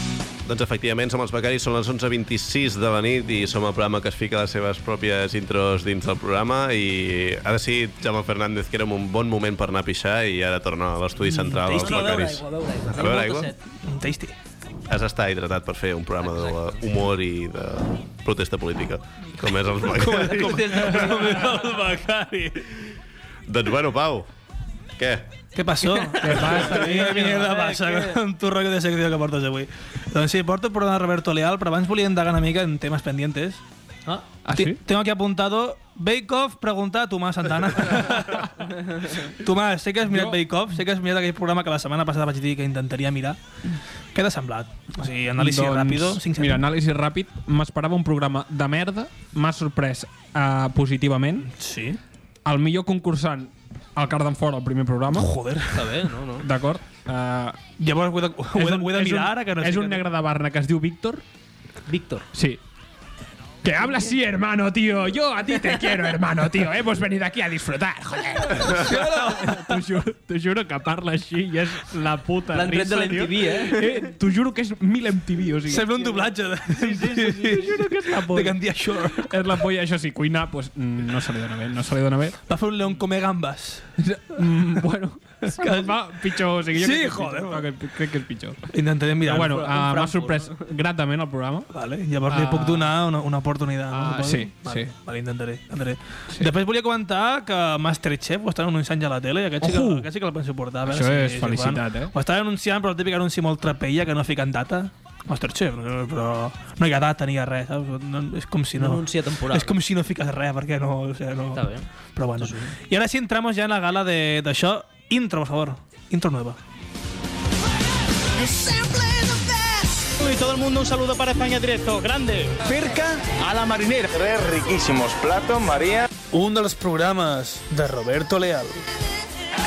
[SPEAKER 1] Doncs efectivament som els becaris, són les 11.26 de la nit i som el programa que es fica les seves pròpies intros dins del programa i ha decidit Jaume Fernández que era un bon moment per anar a pixar i ara torna a l'estudi central dels becaris. A veure aigua.
[SPEAKER 2] Mm, Tasty.
[SPEAKER 1] Has d'estar hidratat per fer un programa d'humor i de protesta política, com és els becaris.
[SPEAKER 2] El becari.
[SPEAKER 1] Doncs bueno, Pau, què?
[SPEAKER 2] Què passó? Què passa? Quina mierda passa amb tu rotllo de secció que portes avui? Doncs sí, porto por de Roberto Leal, però abans volia indagar una mica en temes pendientes.
[SPEAKER 3] Ah,
[SPEAKER 4] Ah,
[SPEAKER 2] Ti-
[SPEAKER 4] sí?
[SPEAKER 2] Tengo aquí apuntado Bake Off, pregunta a Tomás Santana. Tomàs, sé que has mirat
[SPEAKER 4] Jo-
[SPEAKER 2] Bake Off, sé que has mirat aquell programa que la setmana passada vaig dir que intentaria mirar. Què t'ha semblat? O sigui, anàlisi
[SPEAKER 4] Doncs,
[SPEAKER 2] ràpido, 5
[SPEAKER 4] Mira, anàlisi ràpid. M'esperava un programa de merda, m'ha sorprès uh, positivament.
[SPEAKER 2] Sí.
[SPEAKER 4] El millor concursant, el Carden Fora, el primer programa.
[SPEAKER 2] Joder.
[SPEAKER 3] està bé, no? no?
[SPEAKER 4] D'acord? Uh,
[SPEAKER 2] Llavors ho he de, Oh. ho he de, ho he de mirar ara que no
[SPEAKER 4] És
[SPEAKER 2] sé
[SPEAKER 4] un
[SPEAKER 2] què-
[SPEAKER 4] negre de Barna que es diu Víctor.
[SPEAKER 3] Víctor.
[SPEAKER 4] Sí. Que habla así, hermano, tío. Yo a ti te quiero, hermano, tío. Hemos venido aquí a disfrutar, joder. T'ho juro, t'ho juro que parla així i és la puta
[SPEAKER 3] L'han tret
[SPEAKER 4] risa,
[SPEAKER 3] de l'MTV,
[SPEAKER 4] tio.
[SPEAKER 3] eh?
[SPEAKER 4] eh T'ho juro que és mil MTV, o sigui.
[SPEAKER 2] Sembla un doblatge de, sí, sí, sí, sí.
[SPEAKER 4] T'ho juro que és la
[SPEAKER 2] de
[SPEAKER 4] polla.
[SPEAKER 2] Gandia Shore.
[SPEAKER 4] És la polla, això sí, cuinar, pues, mm, no se li dona bé, no se li dona bé.
[SPEAKER 2] Va fer un León come gambas.
[SPEAKER 4] Mm, bueno, és que va pitjor, o sigui, jo
[SPEAKER 2] Sí,
[SPEAKER 4] crec que és
[SPEAKER 2] joder,
[SPEAKER 4] pitjor, crec, que- crec que és pitjor.
[SPEAKER 2] Intentaré mirar.
[SPEAKER 4] Però bueno,
[SPEAKER 2] però-
[SPEAKER 4] uh, m'ha sorprès gratament el programa.
[SPEAKER 2] Vale, llavors li
[SPEAKER 4] Ah.
[SPEAKER 2] puc donar una, una oportunitat.
[SPEAKER 4] Ah,
[SPEAKER 2] no, Suposo.
[SPEAKER 4] sí,
[SPEAKER 2] vale,
[SPEAKER 4] sí.
[SPEAKER 2] Vale, intentaré. intentaré. Sí. Després volia comentar que Masterchef ho estan anunciant ja a la tele i aquest, sí que,
[SPEAKER 4] Ojo!
[SPEAKER 2] aquest sí que el penso portar. a veure
[SPEAKER 4] Això
[SPEAKER 2] si,
[SPEAKER 4] és
[SPEAKER 2] si
[SPEAKER 4] felicitat,
[SPEAKER 2] fan.
[SPEAKER 4] eh?
[SPEAKER 2] Ho estan anunciant, però el típic anunci molt trapella que no fiquen data. Masterchef, no, però no hi ha data ni hi ha res, saps? No, és com si
[SPEAKER 3] No.
[SPEAKER 2] no...
[SPEAKER 3] Anuncia temporal.
[SPEAKER 2] És com si no fiques res, perquè no... O sigui, no...
[SPEAKER 3] Està bé.
[SPEAKER 2] Però bueno. I ara sí, entramos ja en la gala de- d'això. Intro, por favor. Intro nueva.
[SPEAKER 5] Y todo el mundo un saludo para España directo, grande. Cerca a la marinera.
[SPEAKER 6] Tres riquísimos platos, María.
[SPEAKER 2] Un dels programes de Roberto Leal.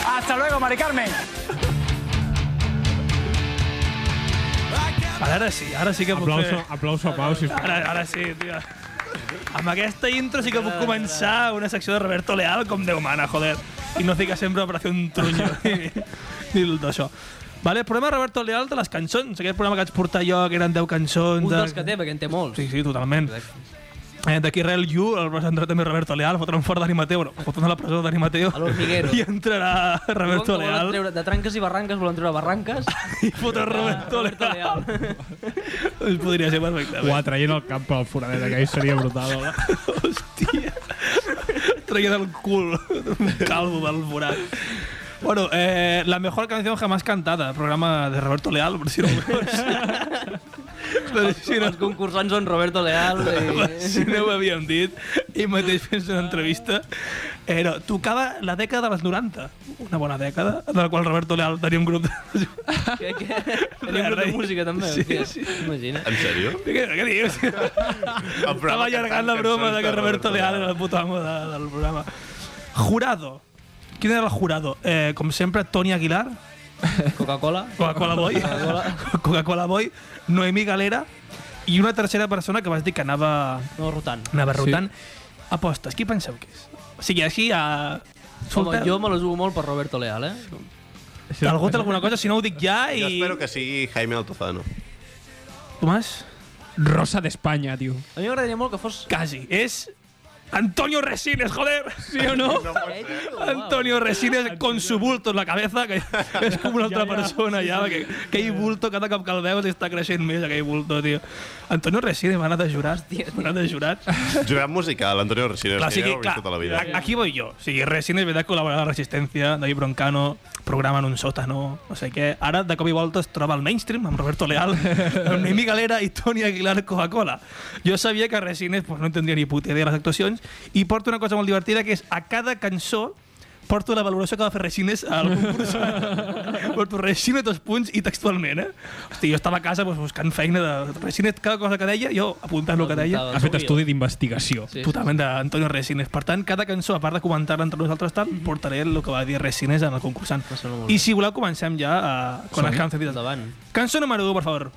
[SPEAKER 5] Hasta luego, Mari Carmen.
[SPEAKER 2] Ara, ara sí, ara sí que puc
[SPEAKER 4] Aplauso,
[SPEAKER 2] fer...
[SPEAKER 4] aplauso a Pau, sisplau.
[SPEAKER 2] Ara, ara sí, tio. Amb aquesta intro sí que puc començar una secció de Roberto Leal com Déu mana, joder. I no fica sempre Operació un Truño i, i tot això. Vale, el programa de Roberto Leal de les cançons. Aquest programa que vaig portar jo, que eren 10 cançons...
[SPEAKER 3] Un
[SPEAKER 2] de-
[SPEAKER 3] dels que té, perquè en té molts.
[SPEAKER 2] Sí, sí, totalment. Eh, D'aquí rel You, el vas entrar també Roberto Leal, fotran fort Dani Mateo, bueno, fotran a la presó Dani Mateo.
[SPEAKER 3] A l'Hormiguero.
[SPEAKER 2] I entrarà Roberto
[SPEAKER 3] Volen- volen
[SPEAKER 2] Leal.
[SPEAKER 3] Treure, de tranques i barranques volen treure barranques.
[SPEAKER 2] I fotrà Roberto Leal. Doncs podria ser perfectament.
[SPEAKER 4] Ho traient al camp pel foradet, aquell seria brutal. Hola.
[SPEAKER 2] Hòstia. Traia del cul un calvo del forat. Bueno, eh, la mejor canción jamás cantada, programa de Roberto Leal, por si no ho veus. per si no,
[SPEAKER 3] Els concursants són Roberto Leal
[SPEAKER 2] per
[SPEAKER 3] i...
[SPEAKER 2] si no ho havíem dit, i mateix fent una entrevista, era, tocava la dècada dels 90, una bona dècada, de la qual Roberto Leal tenia un grup de...
[SPEAKER 3] que, que, tenia un grup de música també.
[SPEAKER 2] eh. Sí,
[SPEAKER 3] hòstia.
[SPEAKER 2] sí.
[SPEAKER 3] Imagina.
[SPEAKER 1] En sèrio?
[SPEAKER 2] Què, què dius? Estava allargant la broma de que Roberto Leal era el puto amo de, del programa. Jurado. Quin era el jurado? Eh, com sempre, Toni Aguilar,
[SPEAKER 3] Coca-Cola.
[SPEAKER 2] Coca-Cola Boy, Coca-Cola Boy, Noemí Galera i una tercera persona que vas dir que anava,
[SPEAKER 3] No, rotant.
[SPEAKER 2] anava rotant. Apostes, qui penseu que és? O sigui, així a...
[SPEAKER 3] Home, jo me la jugo molt per Roberto Leal, eh?
[SPEAKER 2] Algú té alguna cosa? Si no ho dic ja i...
[SPEAKER 1] Jo espero que sigui Jaime Altozano.
[SPEAKER 2] Tomàs?
[SPEAKER 4] Rosa d'Espanya, tio.
[SPEAKER 3] A mi m'agradaria molt que fos...
[SPEAKER 2] Quasi. És Antonio Resines, joder! Sí o no?
[SPEAKER 3] Ell, tio, uau.
[SPEAKER 2] Antonio Resines con su bulto en la cabeza, que és com una altra persona ja, perquè aquell bulto cada cop que el veus està creixent més, aquell bulto, tio. Antonio Resines m'ha anat a jurar, tio, m'ha anat a jurar.
[SPEAKER 1] Jurat musical, Antonio Resines,
[SPEAKER 2] Clar, o
[SPEAKER 1] que ja
[SPEAKER 2] sigui,
[SPEAKER 1] ho he vist
[SPEAKER 2] clar,
[SPEAKER 1] tota la vida.
[SPEAKER 2] a- aquí voy yo. O sigui, Resines ve de col·laborar a la Resistència, David Broncano, programa en un sòtano, no sé què. Ara, de cop i volta, es troba al mainstream amb Roberto Leal, amb Noemí Galera i Toni Aguilar Coca-Cola. Jo sabia que Resines pues, no entendria ni puta idea de les actuacions i porto una cosa molt divertida, que és a cada cançó porto la valoració que va fer Resines al concurs. porto Resines dos punts i textualment, eh? Hosti, jo estava a casa pues, buscant feina de Resines, cada cosa que deia, jo apuntant el que deia.
[SPEAKER 4] Ha fet estudi d'investigació.
[SPEAKER 3] Sí, sí,
[SPEAKER 2] Totalment d'Antonio Resines. Per tant, cada cançó, a part de comentar-la entre nosaltres tal, portaré el que va dir Resines en el concursant.
[SPEAKER 3] Va ser Pues molt bé.
[SPEAKER 2] I si voleu, comencem ja eh, con las canciones.
[SPEAKER 3] Endavant.
[SPEAKER 2] Cançó número 1, per favor.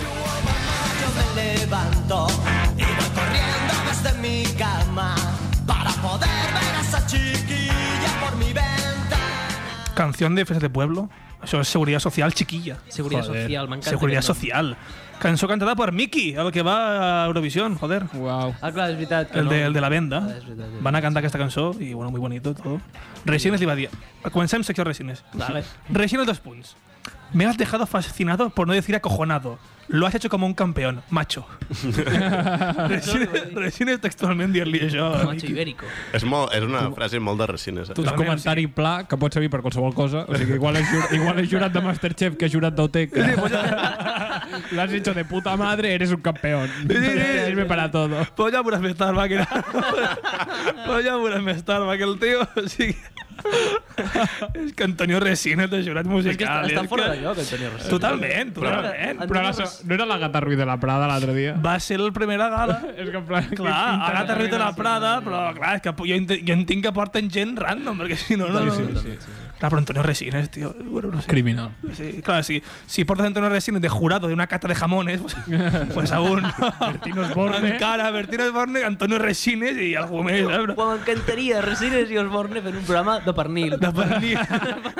[SPEAKER 7] Yo me levanto y voy corriendo desde mi cama para poder ver a esa chiquilla por mi ventana.
[SPEAKER 2] Canción de Fes de Pueblo. Això és Seguridad Social chiquilla.
[SPEAKER 3] Seguridad Social, m'encanta
[SPEAKER 2] Seguridad
[SPEAKER 3] aquest nom.
[SPEAKER 2] Social. Cançó cantada per Miki, el que va a Eurovisión, joder.
[SPEAKER 4] Wow.
[SPEAKER 3] Ah, clar, és veritat. Que
[SPEAKER 2] El
[SPEAKER 3] no.
[SPEAKER 2] de, el de la venda.
[SPEAKER 3] Ah, és veritat, és
[SPEAKER 2] Van a cantar aquesta cançó i, bueno, muy bonito, todo. Resines li va dir... Comencem secció Resines.
[SPEAKER 3] Vale.
[SPEAKER 2] Resines, dos punts. Me has dejado fascinado, por no decir acojonado. Lo has hecho como un campeón, macho. Resines, Resines textualment dir-li això. a
[SPEAKER 3] Macho
[SPEAKER 2] Miki.
[SPEAKER 3] ibérico.
[SPEAKER 1] És, molt, és una frase molt de Resines. Eh?
[SPEAKER 4] És un comentari pla que pot servir per qualsevol cosa. O sigui, igual és, jur- igual és jurat de Masterchef que és jurat d'OT. L'has hecho de puta madre, eres un campeón. Sirve para todo.
[SPEAKER 2] Polla por estar, va, que pues era. Polla por estar, va, que el tío. Sí. és que Antonio Resines de jurat
[SPEAKER 3] És que està,
[SPEAKER 2] musical.
[SPEAKER 3] està
[SPEAKER 2] és
[SPEAKER 3] fora
[SPEAKER 2] que-
[SPEAKER 3] de lloc, Antonio Rossi.
[SPEAKER 2] Totalment, totalment.
[SPEAKER 3] Però-
[SPEAKER 4] Però la, so- no era l'Agata Ruiz de la Prada l'altre dia?
[SPEAKER 2] Va ser la primera gala.
[SPEAKER 4] És que en plan...
[SPEAKER 2] Clar,
[SPEAKER 4] quin-
[SPEAKER 2] Agatha Ruiz de la Prada, però clar, és que jo, ent jo entenc que porten gent random, perquè si no... no, no. Sí, sí, sí. Clar, però Antonio Resines, tio. Bueno, no sé.
[SPEAKER 4] Criminal.
[SPEAKER 2] Sí, claro, si, si portas Antonio Resines de jurado de una cata de jamones, pues, pues aún. Bertino
[SPEAKER 4] Osborne.
[SPEAKER 2] Cara, Bertino Osborne, Antonio Resines i algú més, eh? Però...
[SPEAKER 3] Quan m'encantaria Resines i Osborne fent un programa de pernil.
[SPEAKER 2] De pernil.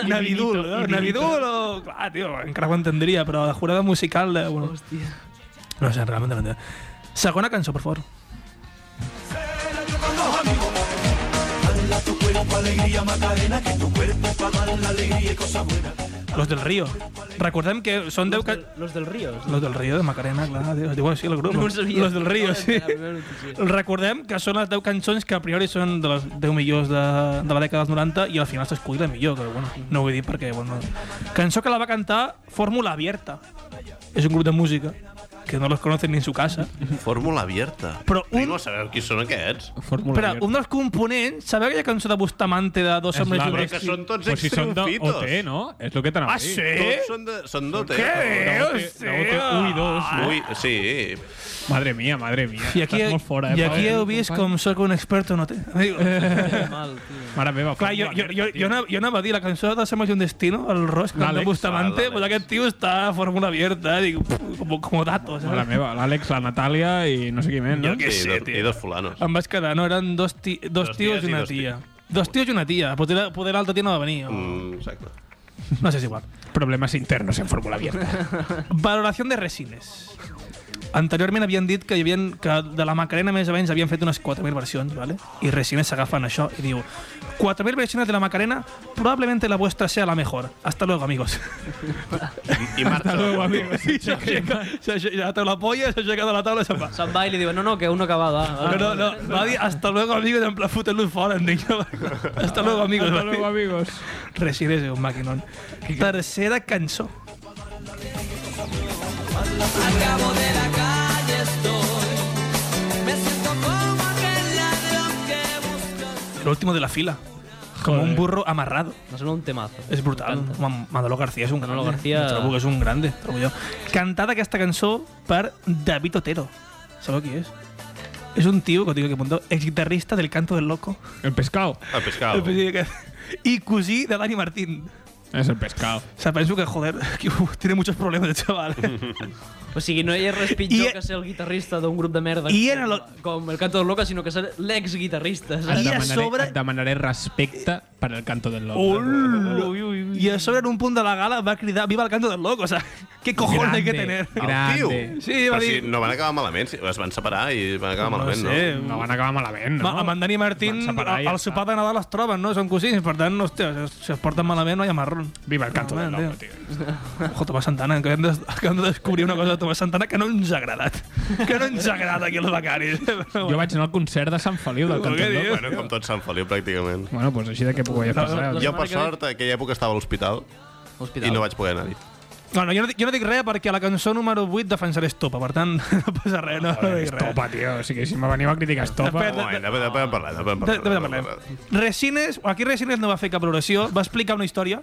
[SPEAKER 2] Navidul, eh?
[SPEAKER 4] vinito, i vinito.
[SPEAKER 2] Navidul o... Clar, tio, encara ho entendria, però de jurada musical... De... Bueno,
[SPEAKER 3] Hòstia.
[SPEAKER 2] no sé, realment no entenc. Segona cançó, per favor. Los del Río. Recordem que són 10 que...
[SPEAKER 3] Los del Río.
[SPEAKER 2] Los del Río de Macarena, clar, tio, es diu així el grup.
[SPEAKER 3] No ho sabia.
[SPEAKER 2] Los del Río, sí.
[SPEAKER 3] La primera notícia.
[SPEAKER 2] Recordem que són les 10 cançons que a priori són de les 10 millors de, de la dècada dels 90 i al final s'escull la millor, que bueno, no ho vull dir perquè... Bueno, cançó que la va cantar Fórmula Abierta. És un grup de música que no los conocen ni en su casa.
[SPEAKER 1] Fórmula abierta.
[SPEAKER 2] Però un-
[SPEAKER 1] Vinga, sabeu qui són aquests?
[SPEAKER 4] Fórmula
[SPEAKER 2] Però un dels components... Sabeu aquella cançó de Bustamante de dos
[SPEAKER 4] És
[SPEAKER 2] homes i
[SPEAKER 4] la
[SPEAKER 2] un
[SPEAKER 1] Però
[SPEAKER 4] Però
[SPEAKER 1] que
[SPEAKER 2] vestido?
[SPEAKER 1] són tots
[SPEAKER 4] Pues si són de
[SPEAKER 1] extremfitos.
[SPEAKER 4] OT, no? És el que t'anava
[SPEAKER 2] Ah,
[SPEAKER 4] a dir.
[SPEAKER 2] sí?
[SPEAKER 1] Tots són de... Són d'OT.
[SPEAKER 2] Què dius,
[SPEAKER 4] de OT, u i dos,
[SPEAKER 2] tio?
[SPEAKER 4] no?
[SPEAKER 1] Ui, sí.
[SPEAKER 4] Madre mía, madre mía.
[SPEAKER 2] I aquí,
[SPEAKER 4] Estàs molt fora, eh?
[SPEAKER 2] i aquí
[SPEAKER 4] Pau?
[SPEAKER 2] heu vist com sóc un experto, no té? Amigo.
[SPEAKER 3] Mal, tio.
[SPEAKER 4] Mare meva,
[SPEAKER 2] Clar, jo, jo, jo, jo, anava, jo anava a dir la cançó de Semos y un destino, el Ross, quan de
[SPEAKER 4] L'Àlex.
[SPEAKER 2] Bustamante, pues aquest tio està a fórmula abierta, dic, pff, com, com datos,
[SPEAKER 4] Mare
[SPEAKER 2] saps?
[SPEAKER 4] meva, l'Àlex, la Natàlia i no sé qui més, no?
[SPEAKER 2] Jo què
[SPEAKER 1] sí,
[SPEAKER 2] sé,
[SPEAKER 1] dos-
[SPEAKER 2] tio.
[SPEAKER 1] I dos fulanos.
[SPEAKER 2] Em vaig quedar, no, eren dos, ti, dos,
[SPEAKER 1] Dos
[SPEAKER 2] tios
[SPEAKER 1] ties i
[SPEAKER 2] i una
[SPEAKER 1] dos
[SPEAKER 2] tia.
[SPEAKER 1] tios.
[SPEAKER 2] Dos tios i una tia. Poder, poder l'altra tia no va venir. O...
[SPEAKER 1] Mm, exacte.
[SPEAKER 2] No sé, és igual.
[SPEAKER 4] Problemes internos en Fórmula Abierta.
[SPEAKER 2] Valoració de resines. Anteriorment havien dit que, hi havien, que de la Macarena més o menys havien fet unes 4.000 versions, ¿vale? i Resines s'agafen això i diu 4.000 versiones de la Macarena, probablemente la vuestra sea la mejor. Hasta luego, amigos.
[SPEAKER 1] I, i marxa.
[SPEAKER 2] I s'aixeca, s'aixeca, la taula polla, s'aixeca de la taula i se'n va.
[SPEAKER 3] Se'n va i li diuen, no, no, que uno acabada.
[SPEAKER 2] No, no, no, va dir hasta luego amigos, en plan fotent-los fora, entenc. Hasta luego amigos.
[SPEAKER 4] Hasta
[SPEAKER 2] va dir.
[SPEAKER 4] luego, amigos.
[SPEAKER 2] Resines és un maquinón. Tercera cançó.
[SPEAKER 7] Al cabo de la calle estoy, me siento como aquel ladrón que busca.
[SPEAKER 2] El último de la fila. Com un burro amarrado.
[SPEAKER 3] No sembla un temazo.
[SPEAKER 2] És brutal.
[SPEAKER 3] M'encanta.
[SPEAKER 2] Home, Manolo García és un
[SPEAKER 3] Manolo
[SPEAKER 2] grande.
[SPEAKER 3] García-
[SPEAKER 2] Trobo que és un grande, trobo jo. Cantada aquesta cançó per David Otero. Sabeu qui és? És un tio, que ho dic aquí apuntado, exguitarrista del Canto del Loco.
[SPEAKER 4] El pescado.
[SPEAKER 1] El pescado.
[SPEAKER 2] I cosí de Dani Martín.
[SPEAKER 4] És el pescado.
[SPEAKER 2] O sea, penso que, joder, que uh, tiene muchos problemas el chaval. eh?
[SPEAKER 3] O sigui, no hi ha res pitjor
[SPEAKER 2] I-
[SPEAKER 3] que ser el guitarrista d'un grup de merda
[SPEAKER 2] I era lo- Ah,
[SPEAKER 3] com el Canto del Loca, sinó que ser l'ex-guitarrista.
[SPEAKER 2] I a
[SPEAKER 4] Et
[SPEAKER 3] saps?
[SPEAKER 4] demanaré,
[SPEAKER 2] sobre-
[SPEAKER 4] et demanaré respecte per al canto del lobo.
[SPEAKER 2] Ol! I a sobre en un punt de la gala va cridar Viva el Canto del Loco, o sea, qué cojones hay que tener.
[SPEAKER 4] Grande.
[SPEAKER 2] Sí, va
[SPEAKER 1] Però si
[SPEAKER 2] dir...
[SPEAKER 1] no van acabar malament, si es van separar i van acabar malament, no?
[SPEAKER 2] sé,
[SPEAKER 4] No van acabar malament, Ah, no?
[SPEAKER 2] Ma, amb en Dani Martín,
[SPEAKER 4] Van separar i
[SPEAKER 2] al
[SPEAKER 4] ja
[SPEAKER 2] al
[SPEAKER 4] està.
[SPEAKER 2] sopar de Nadal es troben, no? Són cosins, per tant, hòstia, si es porten malament no hi ha marrón.
[SPEAKER 4] Viva el canto del
[SPEAKER 2] Home,
[SPEAKER 4] lobo,
[SPEAKER 2] tio.
[SPEAKER 4] tio.
[SPEAKER 2] Ojo, Tomàs Santana, que hem, de, que hem de descobrir una cosa de Tomàs Santana que no ens ha agradat. Que no ens agrada aquí als becaris.
[SPEAKER 4] Jo vaig anar al concert de Sant Feliu del canto
[SPEAKER 2] què
[SPEAKER 4] del lobo.
[SPEAKER 1] Bueno, com tot Sant Feliu, pràcticament.
[SPEAKER 4] Bueno, doncs així de què podia passar.
[SPEAKER 3] La
[SPEAKER 1] Jo,
[SPEAKER 3] setmana
[SPEAKER 1] per
[SPEAKER 3] que ve-
[SPEAKER 1] sort, aquella època estava a l'hospital
[SPEAKER 3] Hospital.
[SPEAKER 1] i no vaig poder anar-hi.
[SPEAKER 2] Bueno, jo no, dic- jo no dic res perquè a la cançó número 8 defensaré Estopa, per tant, no passa res, no, no dic res.
[SPEAKER 4] Ah, Estopa, tio. O sigui, si me veniu a criticar Estopa...
[SPEAKER 1] Un moment, de podem parlar, de podem
[SPEAKER 2] De, de, de,
[SPEAKER 1] parlar.
[SPEAKER 2] parlem. Resines, aquí Resines no va fer cap valoració, va explicar una història,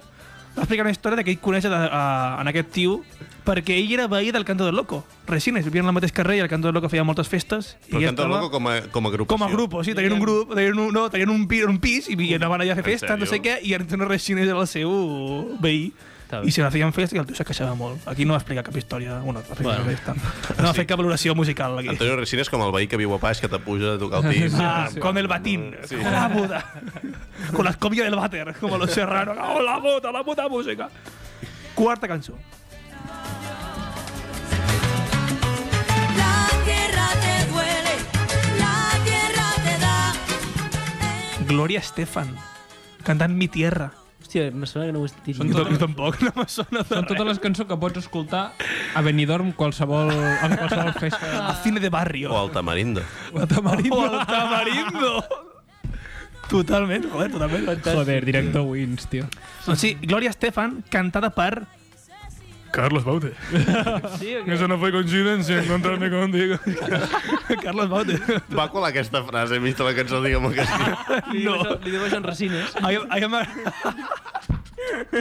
[SPEAKER 2] va explicar una història de que ell coneix a, a, en aquest tio perquè ell era veí del Canto del Loco. Resines, vivien al mateix carrer i el Canto del Loco feia moltes festes.
[SPEAKER 1] Però
[SPEAKER 2] i ell
[SPEAKER 1] Canto del
[SPEAKER 2] estava-
[SPEAKER 1] Loco com a, com a grup.
[SPEAKER 2] com a grup, o sigui, tenien un grup, tenien un, no, tenien un, pi, un pis i, i anaven allà a fer
[SPEAKER 1] En
[SPEAKER 2] festes, no sé
[SPEAKER 1] sèrio?
[SPEAKER 2] què, i Antonio Resines era el seu veí.
[SPEAKER 3] Està bé.
[SPEAKER 2] I se la feien festa i el tio se queixava molt. Aquí no va explicar cap història. Bueno, va bueno. Festa. No va fer cap valoració musical, aquí.
[SPEAKER 1] Antonio Resines com el veí que viu a Paix, que te puja a tocar el pis.
[SPEAKER 2] Ah, con el batín,
[SPEAKER 1] Sí.
[SPEAKER 2] con la puta, con la escobilla del váter, como los serranos. ¡Oh, la puta, la puta música! Quarta cançó.
[SPEAKER 7] La tierra te duele, la tierra te da.
[SPEAKER 2] Gloria Estefan, cantant Mi Tierra.
[SPEAKER 3] Hòstia, em sembla que no ho he dit.
[SPEAKER 2] Jo tampoc, no me sona de
[SPEAKER 4] Són
[SPEAKER 2] res.
[SPEAKER 4] totes les cançons que pots escoltar a Benidorm qualsevol, en qualsevol festa.
[SPEAKER 2] A cine de barrio.
[SPEAKER 1] O al Tamarindo.
[SPEAKER 4] O a Tamarindo.
[SPEAKER 2] O al tamarindo. Totalment, joder, totalment.
[SPEAKER 4] Joder, director Wins, tio.
[SPEAKER 2] O sigui, Gloria Estefan, cantada per... Carlos Baute.
[SPEAKER 3] Sí, o què?
[SPEAKER 2] Eso no fue coincidencia encontrarme contigo. Carlos Baute.
[SPEAKER 1] Va colar aquesta frase, he vist la cançó, digue'm que sí.
[SPEAKER 3] Li
[SPEAKER 2] No.
[SPEAKER 3] diu això- Li diu això en Resines.
[SPEAKER 2] A mi- a mi m'agrada-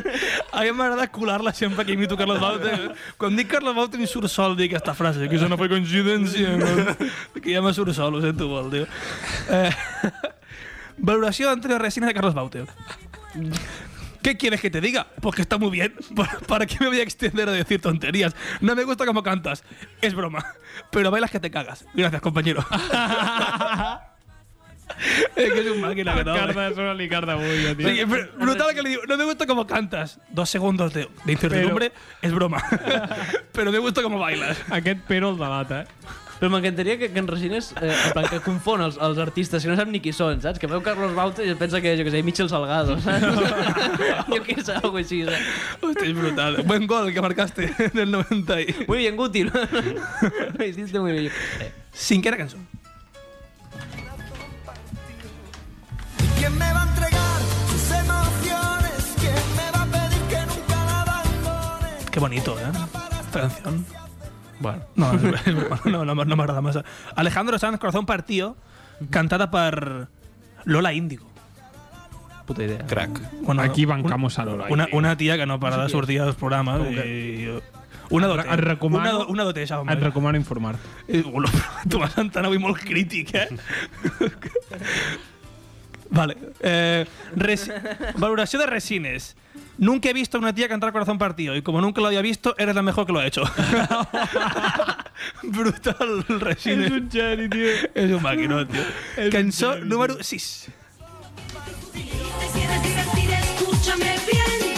[SPEAKER 2] a mi m'agrada colar-la sempre que imito Carlos Baute. Quan dic Carlos Baute em surt sol dir aquesta frase, que això no fue coincidència. No? Que ja me surt sol, ho sento molt, tio. Eh, valoració d'Antonio Resines de Carlos Baute. ¿Qué quieres que te diga? Pues que está muy bien. ¿Para- ¿Para qué me voy a extender a decir tonterías? No me gusta cómo cantas. Es broma. Pero bailas que te cagas. Gracias, compañero. es que es un máquina que no, eh.
[SPEAKER 4] Carda, és una licarda avui, tio.
[SPEAKER 2] Sí, pero brutal que le digo, no me gusta cómo cantas. Dos segundos de, de incertidumbre es broma. pero me gusta cómo bailas.
[SPEAKER 4] Aquest Pere el delata, eh?
[SPEAKER 3] Però m'encantaria que, que en Resines, eh, en plan, que confon els, els artistes, que no sap ni qui són, saps? Que veu Carlos Baute i es pensa que, jo què sé, Michel Salgado, saps? jo què sé, alguna cosa així, saps?
[SPEAKER 2] Hostia, es brutal. Buen gol que marcaste del 90. Y...
[SPEAKER 3] Muy bien, Guti, no? Lo hiciste muy bien. Eh,
[SPEAKER 2] Sin la canción.
[SPEAKER 7] ¿Quién me va a entregar sus emociones? ¿Quién me va a pedir que nunca la abandone?
[SPEAKER 2] Qué bonito, ¿eh? Esta canción. Bueno, no, es- es broma. no, no, me- no me agrada más. Alejandro Sanz, Corazón Partido, cantada por Lola Índigo.
[SPEAKER 3] puta idea.
[SPEAKER 1] Crac.
[SPEAKER 2] Bueno,
[SPEAKER 4] Aquí
[SPEAKER 2] una-
[SPEAKER 4] bancamos a Lola.
[SPEAKER 2] Una, una tía que no para de sortir dels programes. I, una dote.
[SPEAKER 4] Et recomano-
[SPEAKER 2] Una, do- una dote, ja, home.
[SPEAKER 4] Et recomano informar-te.
[SPEAKER 2] Eh, Hola, Tomàs Santana avui molt crític, eh? vale. Eh, res, valoració de resines. Nunca he visto a una tía cantar corazón partido y como nunca lo había visto, eres la mejor que lo ha hecho. Brutal, resines.
[SPEAKER 4] És un geni, tio.
[SPEAKER 2] És un maquinot, tio. Cançó número 6.
[SPEAKER 7] Te quieres divertir, escúchame bien.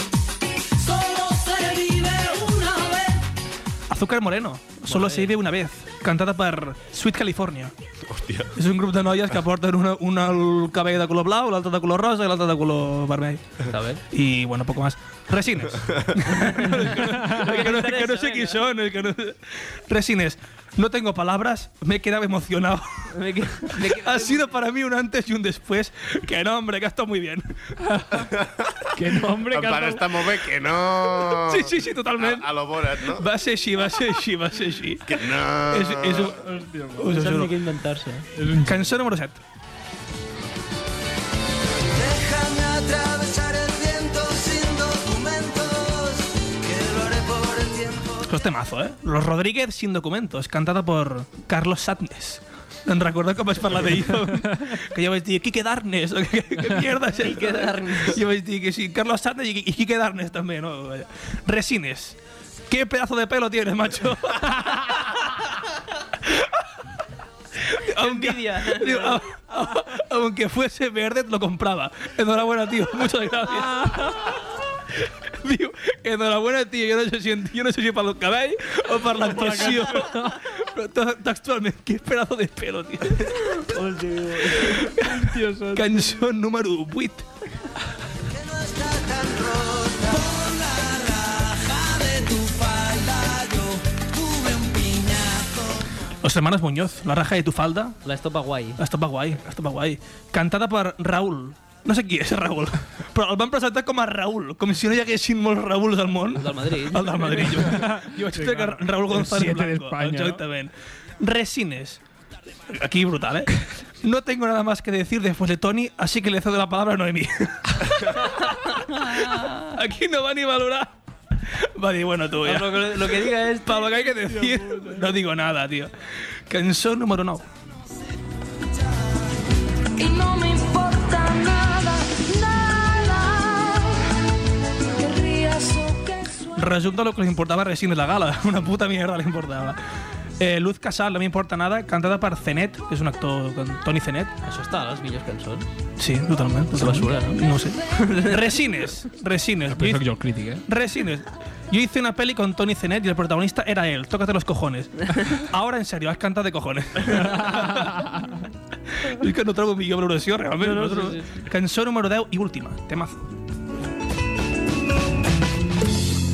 [SPEAKER 7] Solo se vive una vez.
[SPEAKER 2] Azúcar Moreno, Solo se vive una vez, cantada per Sweet California.
[SPEAKER 1] Hòstia.
[SPEAKER 2] És un grup de noies que porten una, una el cabell de color blau, l'altra de color rosa i l'altra de color vermell.
[SPEAKER 3] Està bé?
[SPEAKER 2] Y bueno, poco más. Resines. que, no, que no sé quién son. es que no- Resines. No tengo palabras, me he quedado emocionado.
[SPEAKER 3] Me que- me que-
[SPEAKER 2] Ha sido para mí un antes y un después. Que no, hombre, que ha estado muy bien.
[SPEAKER 4] Que nombre,
[SPEAKER 1] En plan, Ah,
[SPEAKER 4] que
[SPEAKER 1] està molt bé que no...
[SPEAKER 2] Sí, sí, sí, totalment.
[SPEAKER 1] A, a lo Borat, no?
[SPEAKER 2] Va ser així, va ser així, va ser així.
[SPEAKER 1] Que no...
[SPEAKER 2] És, és un... Us
[SPEAKER 3] No
[SPEAKER 2] ho
[SPEAKER 3] sap ni
[SPEAKER 2] juro.
[SPEAKER 3] què inventar-se. eh?
[SPEAKER 2] Cançó número 7.
[SPEAKER 7] Déjame atravesar el viento sin documentos, que lo haré por el tiempo.
[SPEAKER 2] Esto es temazo, ¿eh? Los Rodríguez sin documentos, cantada por Carlos Satnes. Em recordo com vaig parlar d'ell, que jo vaig dir Quique Darnes, o que, que, que mierda és Quique
[SPEAKER 3] Darnes.
[SPEAKER 2] Jo vaig dir que sí, Carlos Satnes i, i Quique Darnes també, no? Vaja. Resines, ¿qué pedazo de pelo tienes, macho? aunque,
[SPEAKER 3] Envidia.
[SPEAKER 2] digo, a- a- aunque fuese verde, te lo compraba. Enhorabuena, tío, muchas gracias.
[SPEAKER 3] Ah.
[SPEAKER 2] Diu, enhorabuena, tio, jo no sé si, en- jo no sé si pel cabell o per l'actuació. Però to- textualment, que pedazo de pelo, tio. Cançó número 8. Los hermanos Muñoz, La raja de tu falda,
[SPEAKER 3] L'estopa guai.
[SPEAKER 2] Estava guai, estava guai. Cantada per Raül. No sé qui és Raül, però el van presentar com a Raül, com si no hi haguessin molts Raüls al món. El
[SPEAKER 3] del Madrid.
[SPEAKER 2] El del Madrid. Jo, jo vaig creure que Raül González
[SPEAKER 4] siete
[SPEAKER 2] Blanco.
[SPEAKER 4] d'Espanya, no?
[SPEAKER 2] Exactament. Resines. Aquí brutal, ¿eh? No tengo nada más que decir después de Tony, así que le cedo la palabra a Noemí. Aquí no va ni a valorar. Va a decir, bueno, tú ya.
[SPEAKER 3] Lo que, lo que diga és...
[SPEAKER 2] Para lo que hay que decir, no digo nada, tío. Canción número 9.
[SPEAKER 7] Y no me importa nada, nada. Que rías o que sueñes.
[SPEAKER 2] Resulta lo que le importaba a Resines la gala. Una puta mierda le importaba. Eh, Luz Casal, no me importa nada, cantada por Zenet, que es un actor con Tony Zenet.
[SPEAKER 3] Això està a les millors cançons.
[SPEAKER 2] Sí, tota totalmente.
[SPEAKER 3] basura,
[SPEAKER 2] ¿no? No sé. Resines, Resines.
[SPEAKER 4] Però sóc jo el crític, eh?
[SPEAKER 2] Resines. Yo hice una peli con Tony Cenet y el protagonista era él. Tócate los cojones. Ahora, en serio, has cantado de cojones. Yo es que no trobo millor valoració, realment. No, no, no, Cançó número 10 i última, temazo.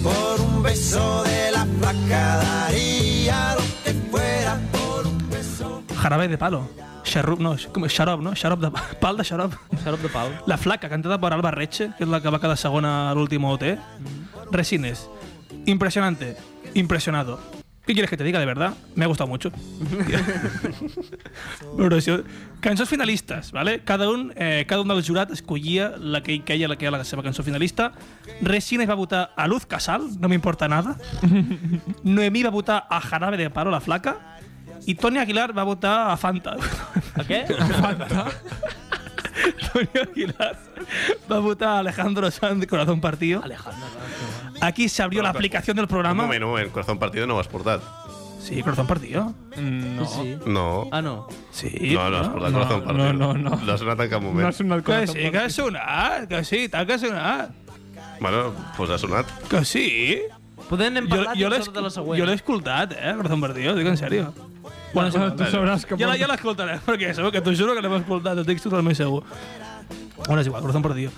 [SPEAKER 7] Por un beso de la placa daría lo que fuera por un beso.
[SPEAKER 2] Jarabe de palo. Xarrup, no, com, xarop, no? Xarop de pa- pal de xarop.
[SPEAKER 3] Xarop de pal.
[SPEAKER 2] La flaca, cantada per Alba Reche, que és la que va quedar segona a l'últim OT. Resines. Impresionante. Impresionado. ¿Qué quieres que te diga de verdad? Me ha gustado mucho. Valoració. Cançons finalistes, ¿vale? Cada un, eh, cada un del jurat escollia la que hi queia, la que era la seva cançó finalista. Resines va votar a Luz Casal, no m'importa nada. Noemí va votar a Jarabe de Palo, la flaca. I Toni Aguilar va votar a Fanta.
[SPEAKER 3] A què?
[SPEAKER 2] Toni Aguilar va votar a Alejandro Sanz, Corazón Partido. Aquí se abrió la aplicación del
[SPEAKER 1] Un
[SPEAKER 2] programa.
[SPEAKER 1] moment, un moment. Corazón partido no ho has portat.
[SPEAKER 2] Sí, Corazón Partido.
[SPEAKER 4] No.
[SPEAKER 3] Sí.
[SPEAKER 1] No.
[SPEAKER 3] Ah, no.
[SPEAKER 2] Sí.
[SPEAKER 1] No, no has portat
[SPEAKER 4] No,
[SPEAKER 1] corazón partido.
[SPEAKER 4] no, no, no.
[SPEAKER 1] No has anat en cap moment.
[SPEAKER 4] No ha sonat
[SPEAKER 2] Que
[SPEAKER 4] cosa.
[SPEAKER 2] sí, que ha sonat, que sí, tal que ha sonat.
[SPEAKER 1] Bueno, doncs pues ha sonat.
[SPEAKER 2] Que sí.
[SPEAKER 3] Podem anem
[SPEAKER 2] Jo,
[SPEAKER 3] parlant
[SPEAKER 2] jo l'he
[SPEAKER 3] jo, de la següent.
[SPEAKER 2] jo l'he escoltat, eh, Corazón Partido, dic en sèrio.
[SPEAKER 4] Bueno, tu sabràs que...
[SPEAKER 2] Ja la- ja l'escoltaré, perquè segur que t'ho juro que l'hem escoltat, estic totalment segur. Bueno, és igual, Corazón Partido.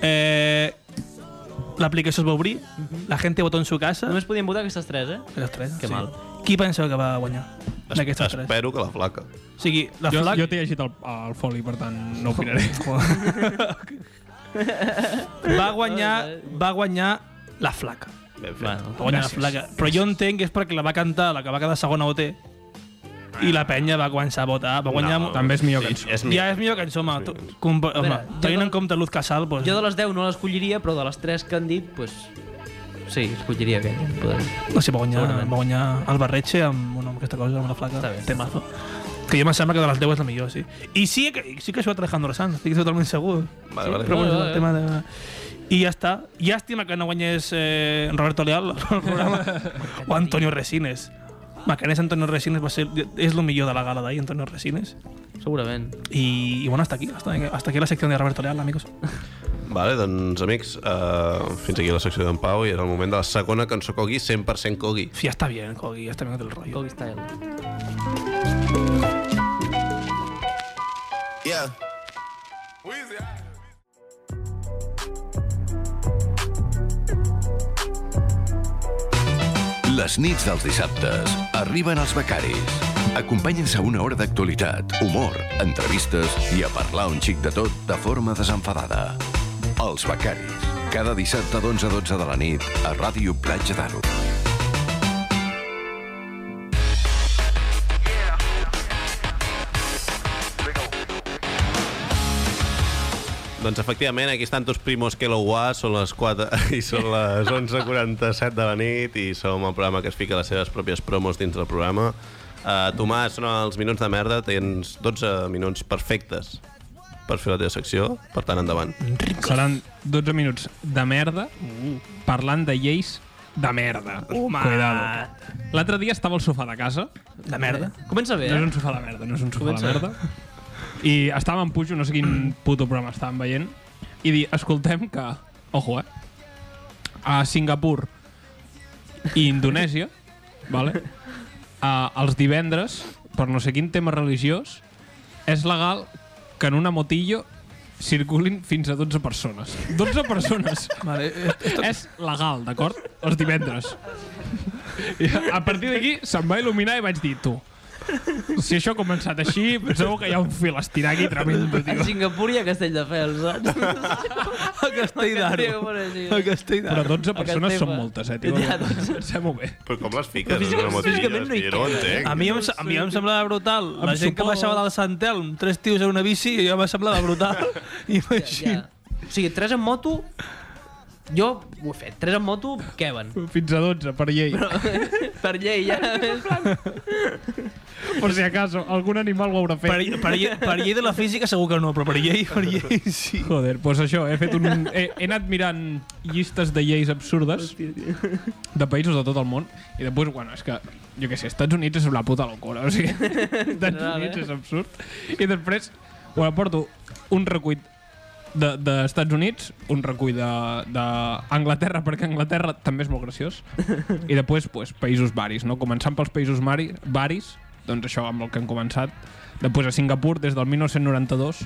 [SPEAKER 2] Eh, L'aplicació es va obrir, la gent votó en su casa.
[SPEAKER 3] Només podíem votar aquestes tres, eh?
[SPEAKER 2] Les tres,
[SPEAKER 3] Que
[SPEAKER 2] sí.
[SPEAKER 3] mal.
[SPEAKER 2] Qui penseu que va guanyar d'aquestes tres?
[SPEAKER 1] Espero que la flaca.
[SPEAKER 2] O sigui, la
[SPEAKER 4] Jo,
[SPEAKER 2] flac...
[SPEAKER 4] jo t'he llegit el, el foli, per tant, no opinaré.
[SPEAKER 2] va guanyar, va guanyar la flaca.
[SPEAKER 1] Ben fet.
[SPEAKER 3] Bueno,
[SPEAKER 2] Va guanyar la flaca. Però jo entenc que és perquè la va cantar la que va quedar segona OT i la penya va començar a votar. Va guanyar...
[SPEAKER 1] No,
[SPEAKER 4] També és millor cançó.
[SPEAKER 1] És
[SPEAKER 2] ja és millor que ens, home.
[SPEAKER 1] És
[SPEAKER 2] tu-
[SPEAKER 1] millor cançó.
[SPEAKER 2] compa- home,
[SPEAKER 3] Espera, jo
[SPEAKER 2] Tenint
[SPEAKER 3] de-
[SPEAKER 2] en compte Luz Casal, doncs...
[SPEAKER 3] Jo de les 10 no l'escolliria, però de les tres que han dit, doncs... Sí, escolliria aquella. Podem.
[SPEAKER 2] No sé, va guanyar,
[SPEAKER 3] Segurament.
[SPEAKER 2] va guanyar el Barretxe amb, bueno, amb aquesta cosa, amb la flaca.
[SPEAKER 3] Està bé.
[SPEAKER 2] Temazo. Que jo em sembla que de les 10 és la millor, sí. I sí que, sí que ha jugat Alejandro Sanz, estic totalment segur.
[SPEAKER 1] Vale, vale.
[SPEAKER 2] Però bueno,
[SPEAKER 3] Vale,
[SPEAKER 2] el tema de... I ja està. Llàstima que no guanyés eh, Roberto Leal al programa. o Antonio Resines. Macanés Antonio Resines va ser, és el millor de la gala d'ahir, Antonio Resines.
[SPEAKER 3] Segurament.
[SPEAKER 2] I, I bueno, hasta aquí, hasta, hasta aquí la secció de Roberto Leal, amigos.
[SPEAKER 1] Vale, doncs, amics, uh, fins aquí la secció d'en Pau i és el moment de la segona cançó Kogi, 100% Kogi.
[SPEAKER 2] Sí, ja està bien, Cogi, ja està bien del rotllo.
[SPEAKER 3] Kobe Style.
[SPEAKER 8] Yeah.
[SPEAKER 9] Les nits dels dissabtes arriben els becaris. Acompanyen-se a una hora d'actualitat, humor, entrevistes i a parlar un xic de tot de forma desenfadada. Els becaris. Cada dissabte d'11 a 12 de la nit a Ràdio Platja d'Aro.
[SPEAKER 1] Doncs efectivament, aquí estan tots primos que lo guà, són les 4 i són les 11.47 de la nit i som el programa que es fica les seves pròpies promos dins del programa. Uh, Tomàs, són els minuts de merda, tens 12 minuts perfectes per fer la teva secció, per tant, endavant.
[SPEAKER 4] Seran 12 minuts de merda parlant de lleis de merda.
[SPEAKER 2] Home.
[SPEAKER 4] Cuidado. L'altre dia estava al sofà de casa.
[SPEAKER 2] La merda.
[SPEAKER 3] Comença bé,
[SPEAKER 4] No
[SPEAKER 3] eh?
[SPEAKER 4] és un sofà de merda, no és un sofà
[SPEAKER 3] Comença.
[SPEAKER 4] de merda. I estava en Pujo, no sé quin puto programa estàvem veient, i dir, escoltem que... Ojo, eh? A Singapur i Indonèsia, vale? A, Eh, els divendres, per no sé quin tema religiós, és legal que en una motillo circulin fins a 12 persones. 12 persones!
[SPEAKER 2] Vale, eh,
[SPEAKER 4] és legal, d'acord? Els divendres. I a partir d'aquí se'm va il·luminar i vaig dir, tu, si això ha començat així, segur que hi ha un fil a estirar aquí tremendo,
[SPEAKER 3] A
[SPEAKER 4] tio.
[SPEAKER 3] Singapur i a Castelldefels, eh? saps?
[SPEAKER 2] el castell
[SPEAKER 3] Tio,
[SPEAKER 2] d'Aro.
[SPEAKER 3] per així.
[SPEAKER 2] El castell
[SPEAKER 4] Però
[SPEAKER 2] d'Aro.
[SPEAKER 4] 12 persones són
[SPEAKER 3] Esteve.
[SPEAKER 4] moltes, eh, tio.
[SPEAKER 3] Ja, doncs.
[SPEAKER 4] Pensem-ho bé.
[SPEAKER 1] Però com les fiques? en
[SPEAKER 3] físicament-
[SPEAKER 1] una motilla?
[SPEAKER 3] físicament no hi
[SPEAKER 1] És que
[SPEAKER 3] eh? Ah,
[SPEAKER 1] jo no ho entenc.
[SPEAKER 2] A mi, em, a mi em semblava brutal. La
[SPEAKER 4] Em
[SPEAKER 2] gent que
[SPEAKER 4] suposo.
[SPEAKER 2] baixava del Sant Telm, tres tios en una bici, i ja em semblava brutal. Imagina.
[SPEAKER 3] Ja. O sigui, tres en moto... Jo ho he fet. Tres en moto, queben.
[SPEAKER 4] Fins a 12, per llei.
[SPEAKER 3] per llei, ja.
[SPEAKER 1] Doncs
[SPEAKER 3] En plan,
[SPEAKER 4] Per si acaso, algun animal ho haurà fet.
[SPEAKER 2] Per, per, llei- per llei de la física segur que no, però per llei, per llei sí.
[SPEAKER 4] Joder, doncs pues això, he fet un... He, he anat mirant llistes de lleis absurdes de països de tot el món i després, bueno, és que, jo què sé, Estats Units és la puta locura, o sigui, Estats
[SPEAKER 3] General,
[SPEAKER 4] Units
[SPEAKER 3] eh?
[SPEAKER 4] és absurd. I després, bueno, porto un recuit d'Estats de, Estats Units, un recull d'Anglaterra, perquè Anglaterra també és molt graciós, i després pues, països varis, no? començant pels països mari, varis, doncs això amb el que hem començat, després a Singapur, des del 1992,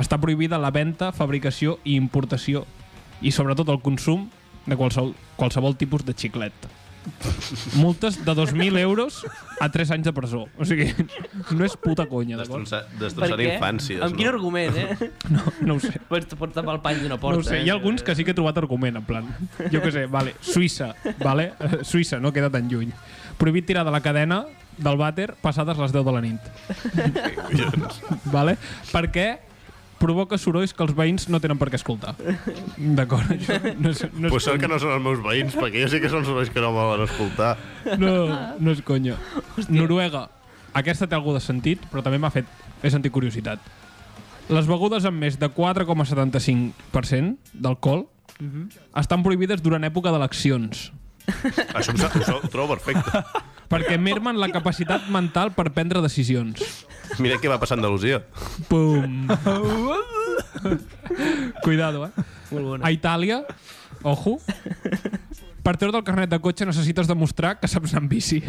[SPEAKER 4] està prohibida la venda, fabricació i importació, i sobretot el consum de qualsevol, qualsevol tipus de xiclet. Multes de 2.000 euros a 3 anys de presó. O sigui, no és puta conya, d'acord?
[SPEAKER 1] Destrossar,
[SPEAKER 3] Per
[SPEAKER 1] destrossar
[SPEAKER 3] què?
[SPEAKER 1] infàncies.
[SPEAKER 3] Amb quin argument, eh?
[SPEAKER 4] No, no ho sé.
[SPEAKER 3] Pots pots tapar el pany d'una porta. eh?
[SPEAKER 4] No ho sé, hi ha alguns que sí que he trobat argument, en plan, jo què sé, vale, Suïssa, vale? Eh, Suïssa, no queda tan lluny. Prohibit tirar de la cadena del vàter passades les 10 de la nit. vale? Perquè provoca sorolls que els veïns no tenen per què escoltar. D'acord? Això No és, no és
[SPEAKER 1] Pues sort que no són els meus veïns, perquè jo sí que són els que no me van escoltar.
[SPEAKER 4] no, no és conya. Noruega. Aquesta té algú de sentit, però també m'ha fet... He sentit curiositat. Les begudes amb més de 4,75% d'alcohol Mhm. estan prohibides durant època d'eleccions,
[SPEAKER 1] Això em sap, ho trobo perfecte.
[SPEAKER 4] perquè mermen la capacitat mental per prendre decisions.
[SPEAKER 1] Mira què va passar a Andalusia.
[SPEAKER 4] Pum! Cuidado, eh?
[SPEAKER 3] Molt bona.
[SPEAKER 4] A Itàlia, ojo, per treure del carnet de cotxe necessites demostrar que saps anar amb bici.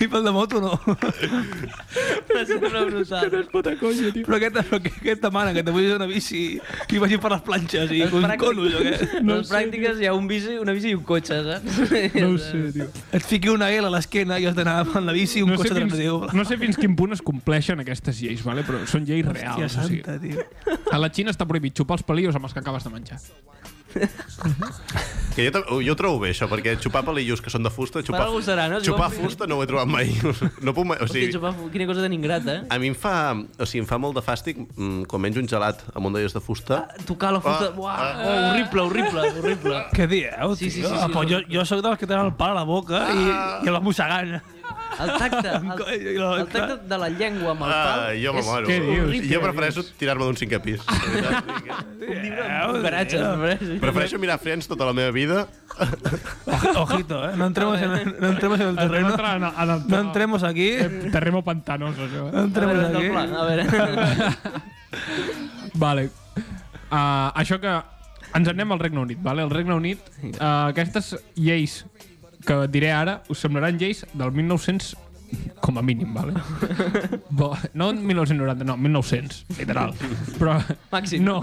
[SPEAKER 2] I pel de moto no.
[SPEAKER 3] Però sembla brutal.
[SPEAKER 4] Puta conya, tio.
[SPEAKER 2] Però aquesta, però què, què et demana? Que te puguis una bici i vagis per les planxes i
[SPEAKER 3] Les
[SPEAKER 2] un
[SPEAKER 3] pràctiques-
[SPEAKER 2] cono, jo què?
[SPEAKER 3] No les pràctiques hi ha un bici, una bici i un cotxe, saps?
[SPEAKER 4] No ho sé, tio.
[SPEAKER 2] Et fiqui una L a l'esquena i has d'anar amb la bici i un
[SPEAKER 4] no sé,
[SPEAKER 2] cotxe
[SPEAKER 4] fins,
[SPEAKER 2] transitiu.
[SPEAKER 4] no sé fins quin punt es compleixen aquestes lleis, vale? però són lleis
[SPEAKER 2] Hòstia
[SPEAKER 4] reals. O sigui.
[SPEAKER 2] santa, tio.
[SPEAKER 4] A la Xina està prohibit xupar els palios amb els que acabes de menjar.
[SPEAKER 1] Que jo, tam- jo ho trobo bé, això, perquè xupar palillos que són de fusta... Xupar,
[SPEAKER 3] algú serà, no? Si
[SPEAKER 1] Xupar
[SPEAKER 3] ho han-
[SPEAKER 1] fusta no ho he trobat mai. No puc mai... O
[SPEAKER 3] Sí.
[SPEAKER 1] sigui,
[SPEAKER 3] Quina cosa tan ingrata, eh?
[SPEAKER 1] a mi em fa, o sigui, em fa molt de fàstic mm, quan menjo un gelat amb un d'elles de fusta.
[SPEAKER 3] Tocar la fusta...
[SPEAKER 1] Ah,
[SPEAKER 3] Uah, oh, horrible, horrible, horrible.
[SPEAKER 2] Què dieu,
[SPEAKER 3] Sí,
[SPEAKER 2] tio?
[SPEAKER 3] sí, sí,
[SPEAKER 2] Ah,
[SPEAKER 3] sí,
[SPEAKER 2] però
[SPEAKER 3] sí.
[SPEAKER 2] jo, jo sóc dels que tenen el pal a la boca i, i el vas mossegant.
[SPEAKER 3] El tacte, el,
[SPEAKER 2] la-
[SPEAKER 3] el tacte de la llengua amb el pal
[SPEAKER 1] Ah, jo me
[SPEAKER 3] és
[SPEAKER 1] moro.
[SPEAKER 4] Què dius?
[SPEAKER 1] Jo prefereixo tirar-me d'un cinquè pis. la veritat.
[SPEAKER 3] un llibre amb cucaratxes. no?
[SPEAKER 1] Prefereixo mirar Friends tota la meva vida.
[SPEAKER 2] Ojito, eh? No entremos, en, no entremos en el
[SPEAKER 4] Anem a
[SPEAKER 2] terreno.
[SPEAKER 4] entrar en, en el, eh,
[SPEAKER 2] No entremos aquí.
[SPEAKER 4] Terreno pantanoso, això.
[SPEAKER 2] No
[SPEAKER 4] Eh?
[SPEAKER 3] A veure,
[SPEAKER 2] entremos
[SPEAKER 3] no,
[SPEAKER 2] aquí.
[SPEAKER 3] clar, a veure.
[SPEAKER 4] Vale. Uh, això que... Ens anem al Regne Unit, vale? El Regne Unit, uh, aquestes lleis que diré ara us semblaran lleis del 1900 com a mínim, vale? Bo, no 1990, no, 1900, literal. Però,
[SPEAKER 3] Màxim.
[SPEAKER 4] No,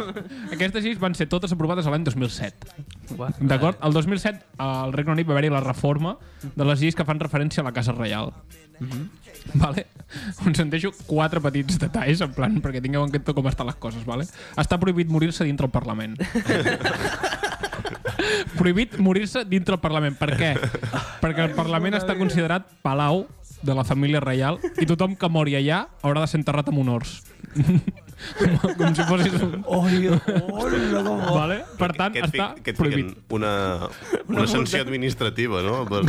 [SPEAKER 4] aquestes lleis van ser totes aprovades a l'any 2007. D'acord? El 2007 al Regne Unit va haver-hi la reforma de les lleis que fan referència a la Casa Reial. Vale? Us en deixo quatre petits detalls, en plan, perquè tingueu en compte com estan les coses, vale? Està prohibit morir-se dintre el Parlament. prohibit morir-se dintre el Parlament. Per què? Perquè el Parlament està considerat palau de la família reial i tothom que mori allà haurà de ser enterrat amb honors. com, com si fossis un...
[SPEAKER 2] Oh, Dios. Hola, com
[SPEAKER 4] Vale? Per
[SPEAKER 1] Oh.
[SPEAKER 4] tant,
[SPEAKER 1] Que et,
[SPEAKER 4] està
[SPEAKER 1] fic, que et
[SPEAKER 4] prohibit.
[SPEAKER 1] fiquen una, una sanció administrativa, no? Per,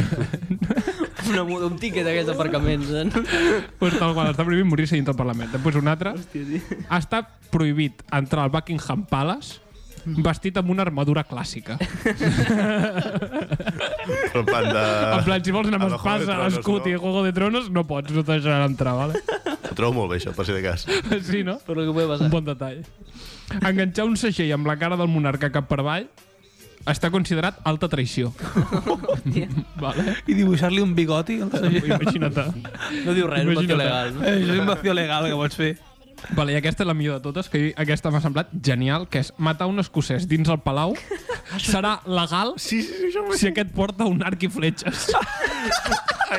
[SPEAKER 3] Una, mu- un tiquet d'aquests aparcaments. Eh?
[SPEAKER 4] Pues tal qual, està prohibit morir-se dintre del Parlament. Després un altre. Està prohibit entrar al Buckingham Palace vestit amb una armadura clàssica.
[SPEAKER 1] per plan de...
[SPEAKER 4] en plan, si vols anar amb
[SPEAKER 1] Ah, a la Juego de Tronos,
[SPEAKER 4] espasa, escut i
[SPEAKER 1] no?
[SPEAKER 4] Juego de Tronos, no pots, no te deixaran entrar, vale?
[SPEAKER 1] Ho trobo molt bé, això, per si de cas.
[SPEAKER 4] sí, no?
[SPEAKER 3] Per lo que puede
[SPEAKER 4] Un
[SPEAKER 3] passar.
[SPEAKER 4] bon detall. Enganxar un segell amb la cara del monarca cap per avall està considerat alta traïció.
[SPEAKER 3] Hòstia.
[SPEAKER 4] Vale?
[SPEAKER 2] I dibuixar-li un bigoti al segell.
[SPEAKER 4] Imagina't.
[SPEAKER 3] No diu res, no pot ser
[SPEAKER 4] Imagina't.
[SPEAKER 3] legal. No?
[SPEAKER 2] Això és invasió legal que pots fer.
[SPEAKER 4] Vale, I aquesta és la millor de totes, que aquesta m'ha semblat genial, que és matar un escocès dins el palau serà legal sí, sí, sí, si aquest porta un arc i fletxes.
[SPEAKER 1] A,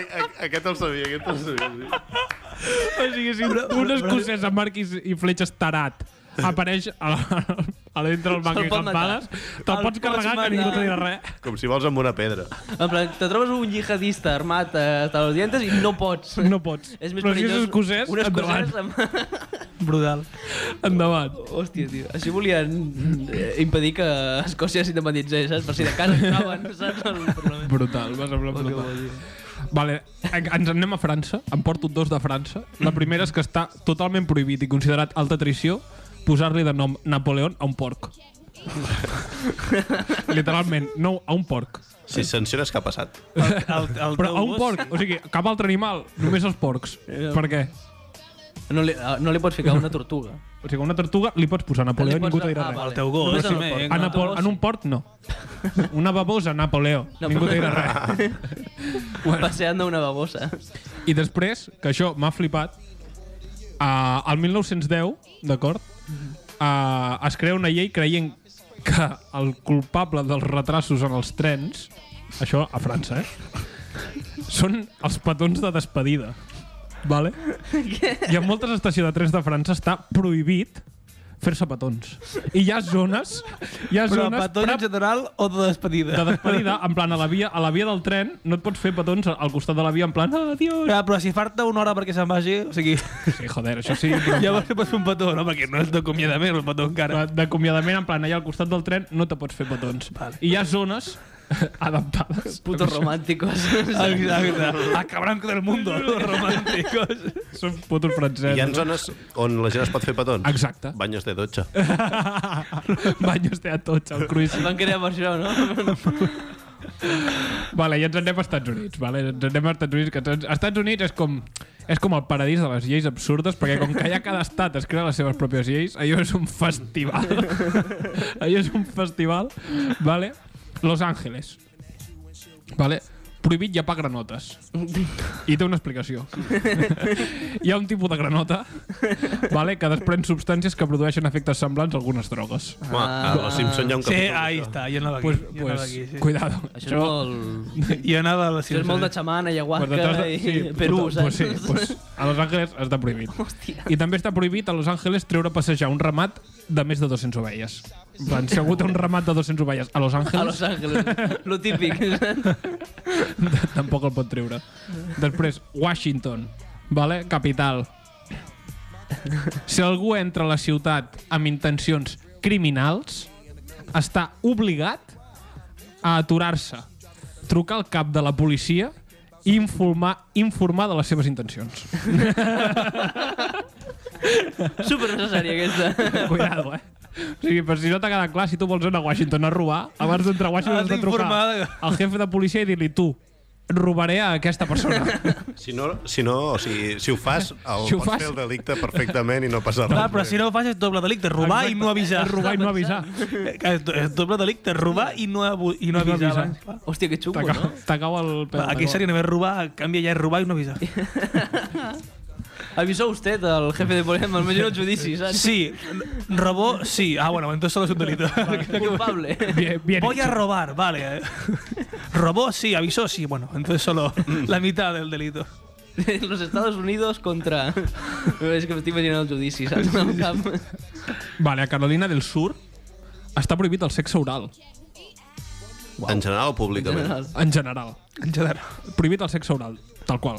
[SPEAKER 1] a, aquest el sabia, aquest el sabia.
[SPEAKER 4] o sigui, si un escocès amb arc i, i fletxes tarat apareix a, la, a dintre del banc i
[SPEAKER 3] pot matar.
[SPEAKER 4] campades, te'l
[SPEAKER 3] El
[SPEAKER 4] pots carregar
[SPEAKER 3] pots
[SPEAKER 4] que ningú
[SPEAKER 3] matar.
[SPEAKER 4] te dirà res.
[SPEAKER 1] Sí. Com si vols amb una pedra.
[SPEAKER 3] En plan, te trobes un yihadista armat eh, hasta los dientes i no pots.
[SPEAKER 4] No pots.
[SPEAKER 3] És més
[SPEAKER 4] Però si és
[SPEAKER 3] perillós
[SPEAKER 4] escocès,
[SPEAKER 3] un escocès
[SPEAKER 4] endavant.
[SPEAKER 3] amb...
[SPEAKER 2] Brutal.
[SPEAKER 4] Endavant.
[SPEAKER 3] Hòstia, tio. Així volien eh, impedir que Escòcia s'independitzés, saps? Per si de casa entraven, saps? Al Parlament.
[SPEAKER 4] Brutal, va semblar
[SPEAKER 3] Oh, que
[SPEAKER 4] brutal.
[SPEAKER 3] bo, tio.
[SPEAKER 4] Vale, en- ens anem a França. Em porto dos de França. La primera és que està totalment prohibit i considerat alta traïció posar-li de nom Napoleón a un porc. Literalment, no, a un porc.
[SPEAKER 1] Si sanciones, què ha passat?
[SPEAKER 2] El, el, el
[SPEAKER 4] Però
[SPEAKER 2] teu
[SPEAKER 4] a un
[SPEAKER 2] gos-
[SPEAKER 4] porc, o sigui, cap altre animal, només els porcs. Per què?
[SPEAKER 3] No li, ah, no li pots ficar una tortuga.
[SPEAKER 4] O sigui, a una tortuga li pots posar Napoleó i
[SPEAKER 3] Li pots-
[SPEAKER 4] ningú t'ho dirà
[SPEAKER 3] ah,
[SPEAKER 4] res.
[SPEAKER 3] vale.
[SPEAKER 2] Al teu gos,
[SPEAKER 3] Només
[SPEAKER 2] sí,
[SPEAKER 3] en el
[SPEAKER 2] me-
[SPEAKER 3] port.
[SPEAKER 2] Ah,
[SPEAKER 4] En, Napo eh? en un port, no. Una babosa, Napoleó.
[SPEAKER 3] No,
[SPEAKER 4] Ningú
[SPEAKER 3] però-
[SPEAKER 4] t'ho dirà res.
[SPEAKER 3] Bueno. Passeant d'una babosa.
[SPEAKER 4] I després, que això m'ha flipat, uh, al 1910, d'acord, uh, es crea una llei creient que el culpable dels retrasos en els trens, això a França, eh, són els petons de despedida. Vale? I en moltes estacions de trens de França està prohibit fer-se petons. I hi ha zones... Hi ha
[SPEAKER 2] Però
[SPEAKER 4] zones
[SPEAKER 2] petó en
[SPEAKER 4] prep-
[SPEAKER 2] general o de despedida?
[SPEAKER 4] de despedida, en plan, a la, via, a la via del tren no et pots fer petons al costat de la via, en plan, ah, tio...
[SPEAKER 2] Clar, però si falta una hora perquè se'n vagi, o sigui,
[SPEAKER 4] Sí, joder, això sí, però...
[SPEAKER 2] llavors te pots fer un petó, no? Perquè no és d'acomiadament el petó encara.
[SPEAKER 4] Però D'acomiadament, en plan, allà al costat del tren no te pots fer petons. Vale. I hi ha zones adaptades.
[SPEAKER 3] Putos romànticos.
[SPEAKER 2] Ah, Exacte. A cabranco del mundo, los románticos.
[SPEAKER 4] Són putos francesos.
[SPEAKER 1] Hi ha zones on la gent es pot fer petons.
[SPEAKER 4] Exacte.
[SPEAKER 1] Baños de dotxa.
[SPEAKER 4] Ah. Banyos té a tots, el cruix.
[SPEAKER 3] Es van crear per això, no?
[SPEAKER 4] Vale, i ens en anem als Estats Units, vale? Ens en anem als Estats Units, que tots- Estats Units és com és com el paradís de les lleis absurdes, perquè com que ja cada estat es crea les seves pròpies lleis, allò és un festival. allò és un festival, vale? Los Ángeles. Vale? Prohibit llepar granotes. I té una explicació. Hi ha un tipus de granota vale, que desprèn substàncies que produeixen efectes semblants a algunes drogues.
[SPEAKER 1] Ah. A los Simpson hi ha un
[SPEAKER 2] Sí,
[SPEAKER 1] capítol.
[SPEAKER 2] ahí està, jo anava aquí.
[SPEAKER 4] Pues,
[SPEAKER 2] jo anava aquí,
[SPEAKER 4] pues,
[SPEAKER 2] sí.
[SPEAKER 4] cuidado.
[SPEAKER 3] Això és molt...
[SPEAKER 2] Jo anava a la
[SPEAKER 3] Això és molt de xamana,
[SPEAKER 4] Pues
[SPEAKER 3] ayahuasca
[SPEAKER 4] detrás
[SPEAKER 3] i
[SPEAKER 4] de, sí,
[SPEAKER 3] Perú,
[SPEAKER 4] pues,
[SPEAKER 3] saps?
[SPEAKER 4] Pues sí, pues, a Los Ángeles està prohibit.
[SPEAKER 3] Hòstia.
[SPEAKER 4] I també està prohibit a Los Ángeles treure a passejar un ramat de més de 200 ovelles. En Plan, si algú té un ramat de 200 ovelles a Los
[SPEAKER 3] A
[SPEAKER 4] Ángeles,
[SPEAKER 3] Los Ángeles, lo típic.
[SPEAKER 4] tampoc el pot treure. Després, Washington, vale? capital. Si algú entra a la ciutat amb intencions criminals, està obligat a aturar-se, trucar al cap de la policia i informar, informar de les seves intencions.
[SPEAKER 3] Super necessària aquesta.
[SPEAKER 4] Cuidado, eh? O sigui, però si no t'ha quedat clar, si tu vols anar a Washington a robar, abans d'entrar a Washington
[SPEAKER 2] Has
[SPEAKER 4] has de trucar
[SPEAKER 2] d'informar.
[SPEAKER 4] al jefe de policia i dir-li tu, robaré a aquesta persona.
[SPEAKER 1] Si no, si, no, o sigui, si ho fas, el,
[SPEAKER 4] Si ho
[SPEAKER 1] pots
[SPEAKER 4] fas-
[SPEAKER 1] fer el delicte perfectament i no passa res.
[SPEAKER 2] Clar, Ah, però si no ho fas és doble delicte, robar i no avisar.
[SPEAKER 4] És robar i no avisar.
[SPEAKER 2] És, és doble delicte, robar i no, abu- i no
[SPEAKER 4] I no
[SPEAKER 2] avisar.
[SPEAKER 4] avisar.
[SPEAKER 2] abans, clar.
[SPEAKER 3] Hòstia, que xungo,
[SPEAKER 4] T'acau
[SPEAKER 3] no?
[SPEAKER 4] t'acau el pèl.
[SPEAKER 2] Aquí
[SPEAKER 4] t'acau-
[SPEAKER 2] seria només robar, en canvi ja és robar i no avisar.
[SPEAKER 3] Avisó vostè del jefe de Podem, al millor el judici, saps?
[SPEAKER 2] Sí, robó, sí. Ah, bueno, entonces solo es un delito.
[SPEAKER 3] Culpable.
[SPEAKER 4] Bien, bien
[SPEAKER 2] Voy a
[SPEAKER 4] hecho.
[SPEAKER 2] robar, vale. eh. Robó, sí, avisó, sí. Bueno, entonces solo la mitad del delito.
[SPEAKER 3] Los Estados Unidos contra... És que m'estic imaginant el judici, saps? Al cap.
[SPEAKER 4] Vale, a Carolina del Sur està prohibit el sexe oral,
[SPEAKER 1] En general o públicament?
[SPEAKER 4] en general.
[SPEAKER 2] En general.
[SPEAKER 4] Prohibit el sexe oral, tal qual.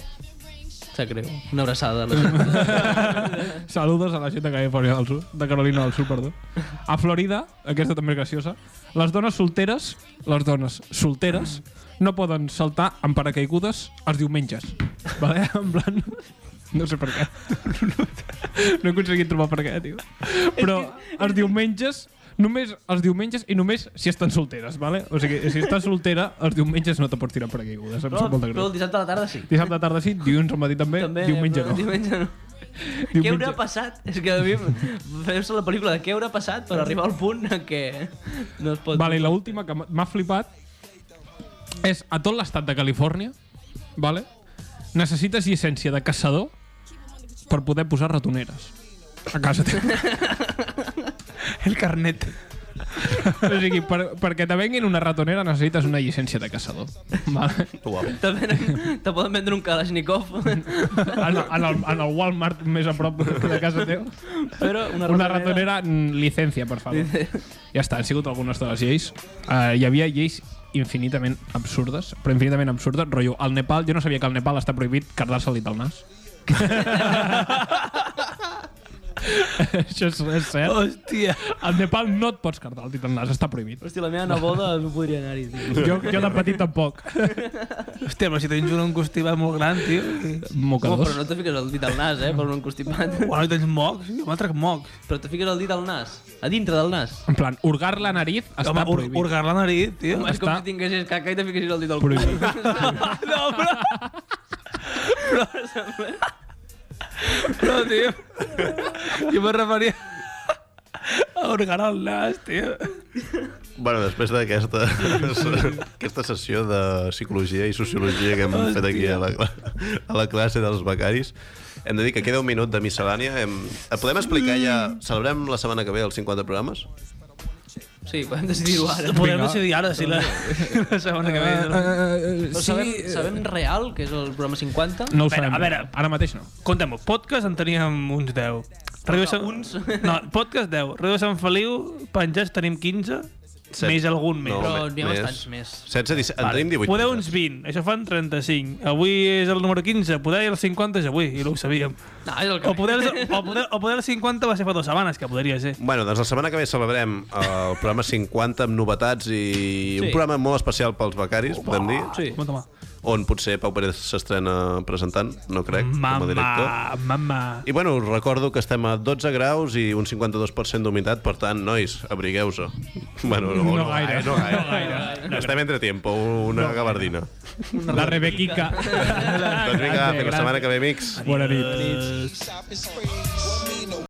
[SPEAKER 3] Sap greu. Una abraçada. a la-
[SPEAKER 4] Saludos a la gent de Califòrnia del Sud, de Carolina del Sud, perdó. A Florida, aquesta també és graciosa, les dones solteres, les dones solteres, no poden saltar en paracaigudes els diumenges. Vale? En plan... No sé per què. No he aconseguit trobar per què, tio. Però els diumenges només els diumenges i només si estan solteres, vale? O sigui, si estàs soltera, els diumenges no te pots tirar paracaigudes. Em
[SPEAKER 3] Però,
[SPEAKER 4] sap molt de
[SPEAKER 3] però
[SPEAKER 4] greu.
[SPEAKER 3] el dissabte a la tarda sí.
[SPEAKER 4] Dissabte a la tarda sí, dilluns al matí també,
[SPEAKER 3] També,
[SPEAKER 4] diumenge
[SPEAKER 3] però
[SPEAKER 4] no.
[SPEAKER 3] Diumenge no. Què haurà passat? És que a mi em- fem la pel·lícula de què haurà passat per arribar al punt en què no es pot...
[SPEAKER 4] Vale, i l'última que m'ha- m'ha flipat és a tot l'estat de Califòrnia, vale? necessites llicència de caçador per poder posar ratoneres a casa teva.
[SPEAKER 2] El carnet.
[SPEAKER 4] o sigui, per, perquè te venguin una ratonera necessites una llicència de caçador. Vale?
[SPEAKER 1] Guau.
[SPEAKER 3] Te, venen, te poden vendre un Kalashnikov,
[SPEAKER 4] En, en, el, en el Walmart més a prop de casa teva.
[SPEAKER 3] però una,
[SPEAKER 4] Una ratonera, mm, llicència, per favor. Ja està, han sigut algunes de les lleis. Uh, hi havia lleis infinitament absurdes, però infinitament absurdes. Rotllo, al Nepal, jo no sabia que al Nepal està prohibit cardar-se el dit al nas. Això és, és cert.
[SPEAKER 2] Hostia.
[SPEAKER 4] Al Nepal no et pots cardar el dit al nas, està prohibit.
[SPEAKER 3] Hòstia, la meva neboda no podria anar-hi, tio.
[SPEAKER 4] Jo, jo de petit tampoc.
[SPEAKER 2] Hostia, pero si tens un constipat molt gran, tio. i-
[SPEAKER 3] Home,
[SPEAKER 4] Mocadors.
[SPEAKER 3] però no te fiques el dit al nas, eh, per un constipat.
[SPEAKER 2] Bueno, i tens mocs, jo m'atrac mocs.
[SPEAKER 3] Però te fiques el dit al nas, a dintre del nas.
[SPEAKER 4] En plan, hurgar la nariz està
[SPEAKER 2] Home, ur-
[SPEAKER 4] prohibit.
[SPEAKER 2] urgar la nariz, tio.
[SPEAKER 3] Home, és com
[SPEAKER 4] Està-
[SPEAKER 3] si tinguessis caca i te fiquessis el dit al cul.
[SPEAKER 4] Prohibit.
[SPEAKER 2] No, però... però, però todo, tío. Yo me refería a Organal Nash, tío.
[SPEAKER 1] Bueno, després d'aquesta aquesta sessió de psicologia i sociologia que hem fet aquí a la, cla- a la classe dels becaris, hem de dir que queda un minut de miscel·lània. Hem, eh, podem explicar ja... Celebrem la setmana que ve els 50 programes?
[SPEAKER 3] Sí, podem decidir-ho ara.
[SPEAKER 2] Podem decidir ara si la, la setmana
[SPEAKER 4] Ah, Eh,
[SPEAKER 2] que ve...
[SPEAKER 3] Però sabem, sabem real que és el programa 50?
[SPEAKER 4] No ho
[SPEAKER 2] A veure,
[SPEAKER 4] sabem.
[SPEAKER 2] a veure.
[SPEAKER 4] Ara mateix no.
[SPEAKER 2] Contem-ho. Podcast en teníem uns 10. Ràdio Sant...
[SPEAKER 3] uns.
[SPEAKER 2] No, podcast 10. Ràdio Sant Feliu, penjats tenim 15,
[SPEAKER 1] Set.
[SPEAKER 2] més algun més.
[SPEAKER 3] Però
[SPEAKER 1] me-
[SPEAKER 3] n'hi ha bastants més.
[SPEAKER 1] 16, 17, en tenim 18.
[SPEAKER 2] Podeu uns 20, això fan 35. Avui és el número 15, poder el 50 és avui, i no ho sabíem.
[SPEAKER 3] No, és el que
[SPEAKER 2] O poder, o, poder, o poder el 50 va ser fa dues setmanes, que podria ser.
[SPEAKER 1] Bueno, doncs la setmana que ve celebrem eh, el programa 50 amb novetats i sí. un
[SPEAKER 3] Sí.
[SPEAKER 1] programa molt especial pels becaris, podem dir,
[SPEAKER 3] Sí.
[SPEAKER 2] Toma, toma.
[SPEAKER 1] on potser Pau Pérez s'estrena presentant, no crec, com a director.
[SPEAKER 2] Mama, mama.
[SPEAKER 1] I bueno, us recordo que estem a 12 graus i un 52% d'humitat, per tant, nois, abrigueu-se. Bueno, no, no, no gaire. No gaire. No gaire. Estem entre tiempo, una no gabardina.
[SPEAKER 4] La Rebequica.
[SPEAKER 1] Doncs vinga, fins la setmana que ve, amics.
[SPEAKER 4] Bona nit.
[SPEAKER 6] Stop is free.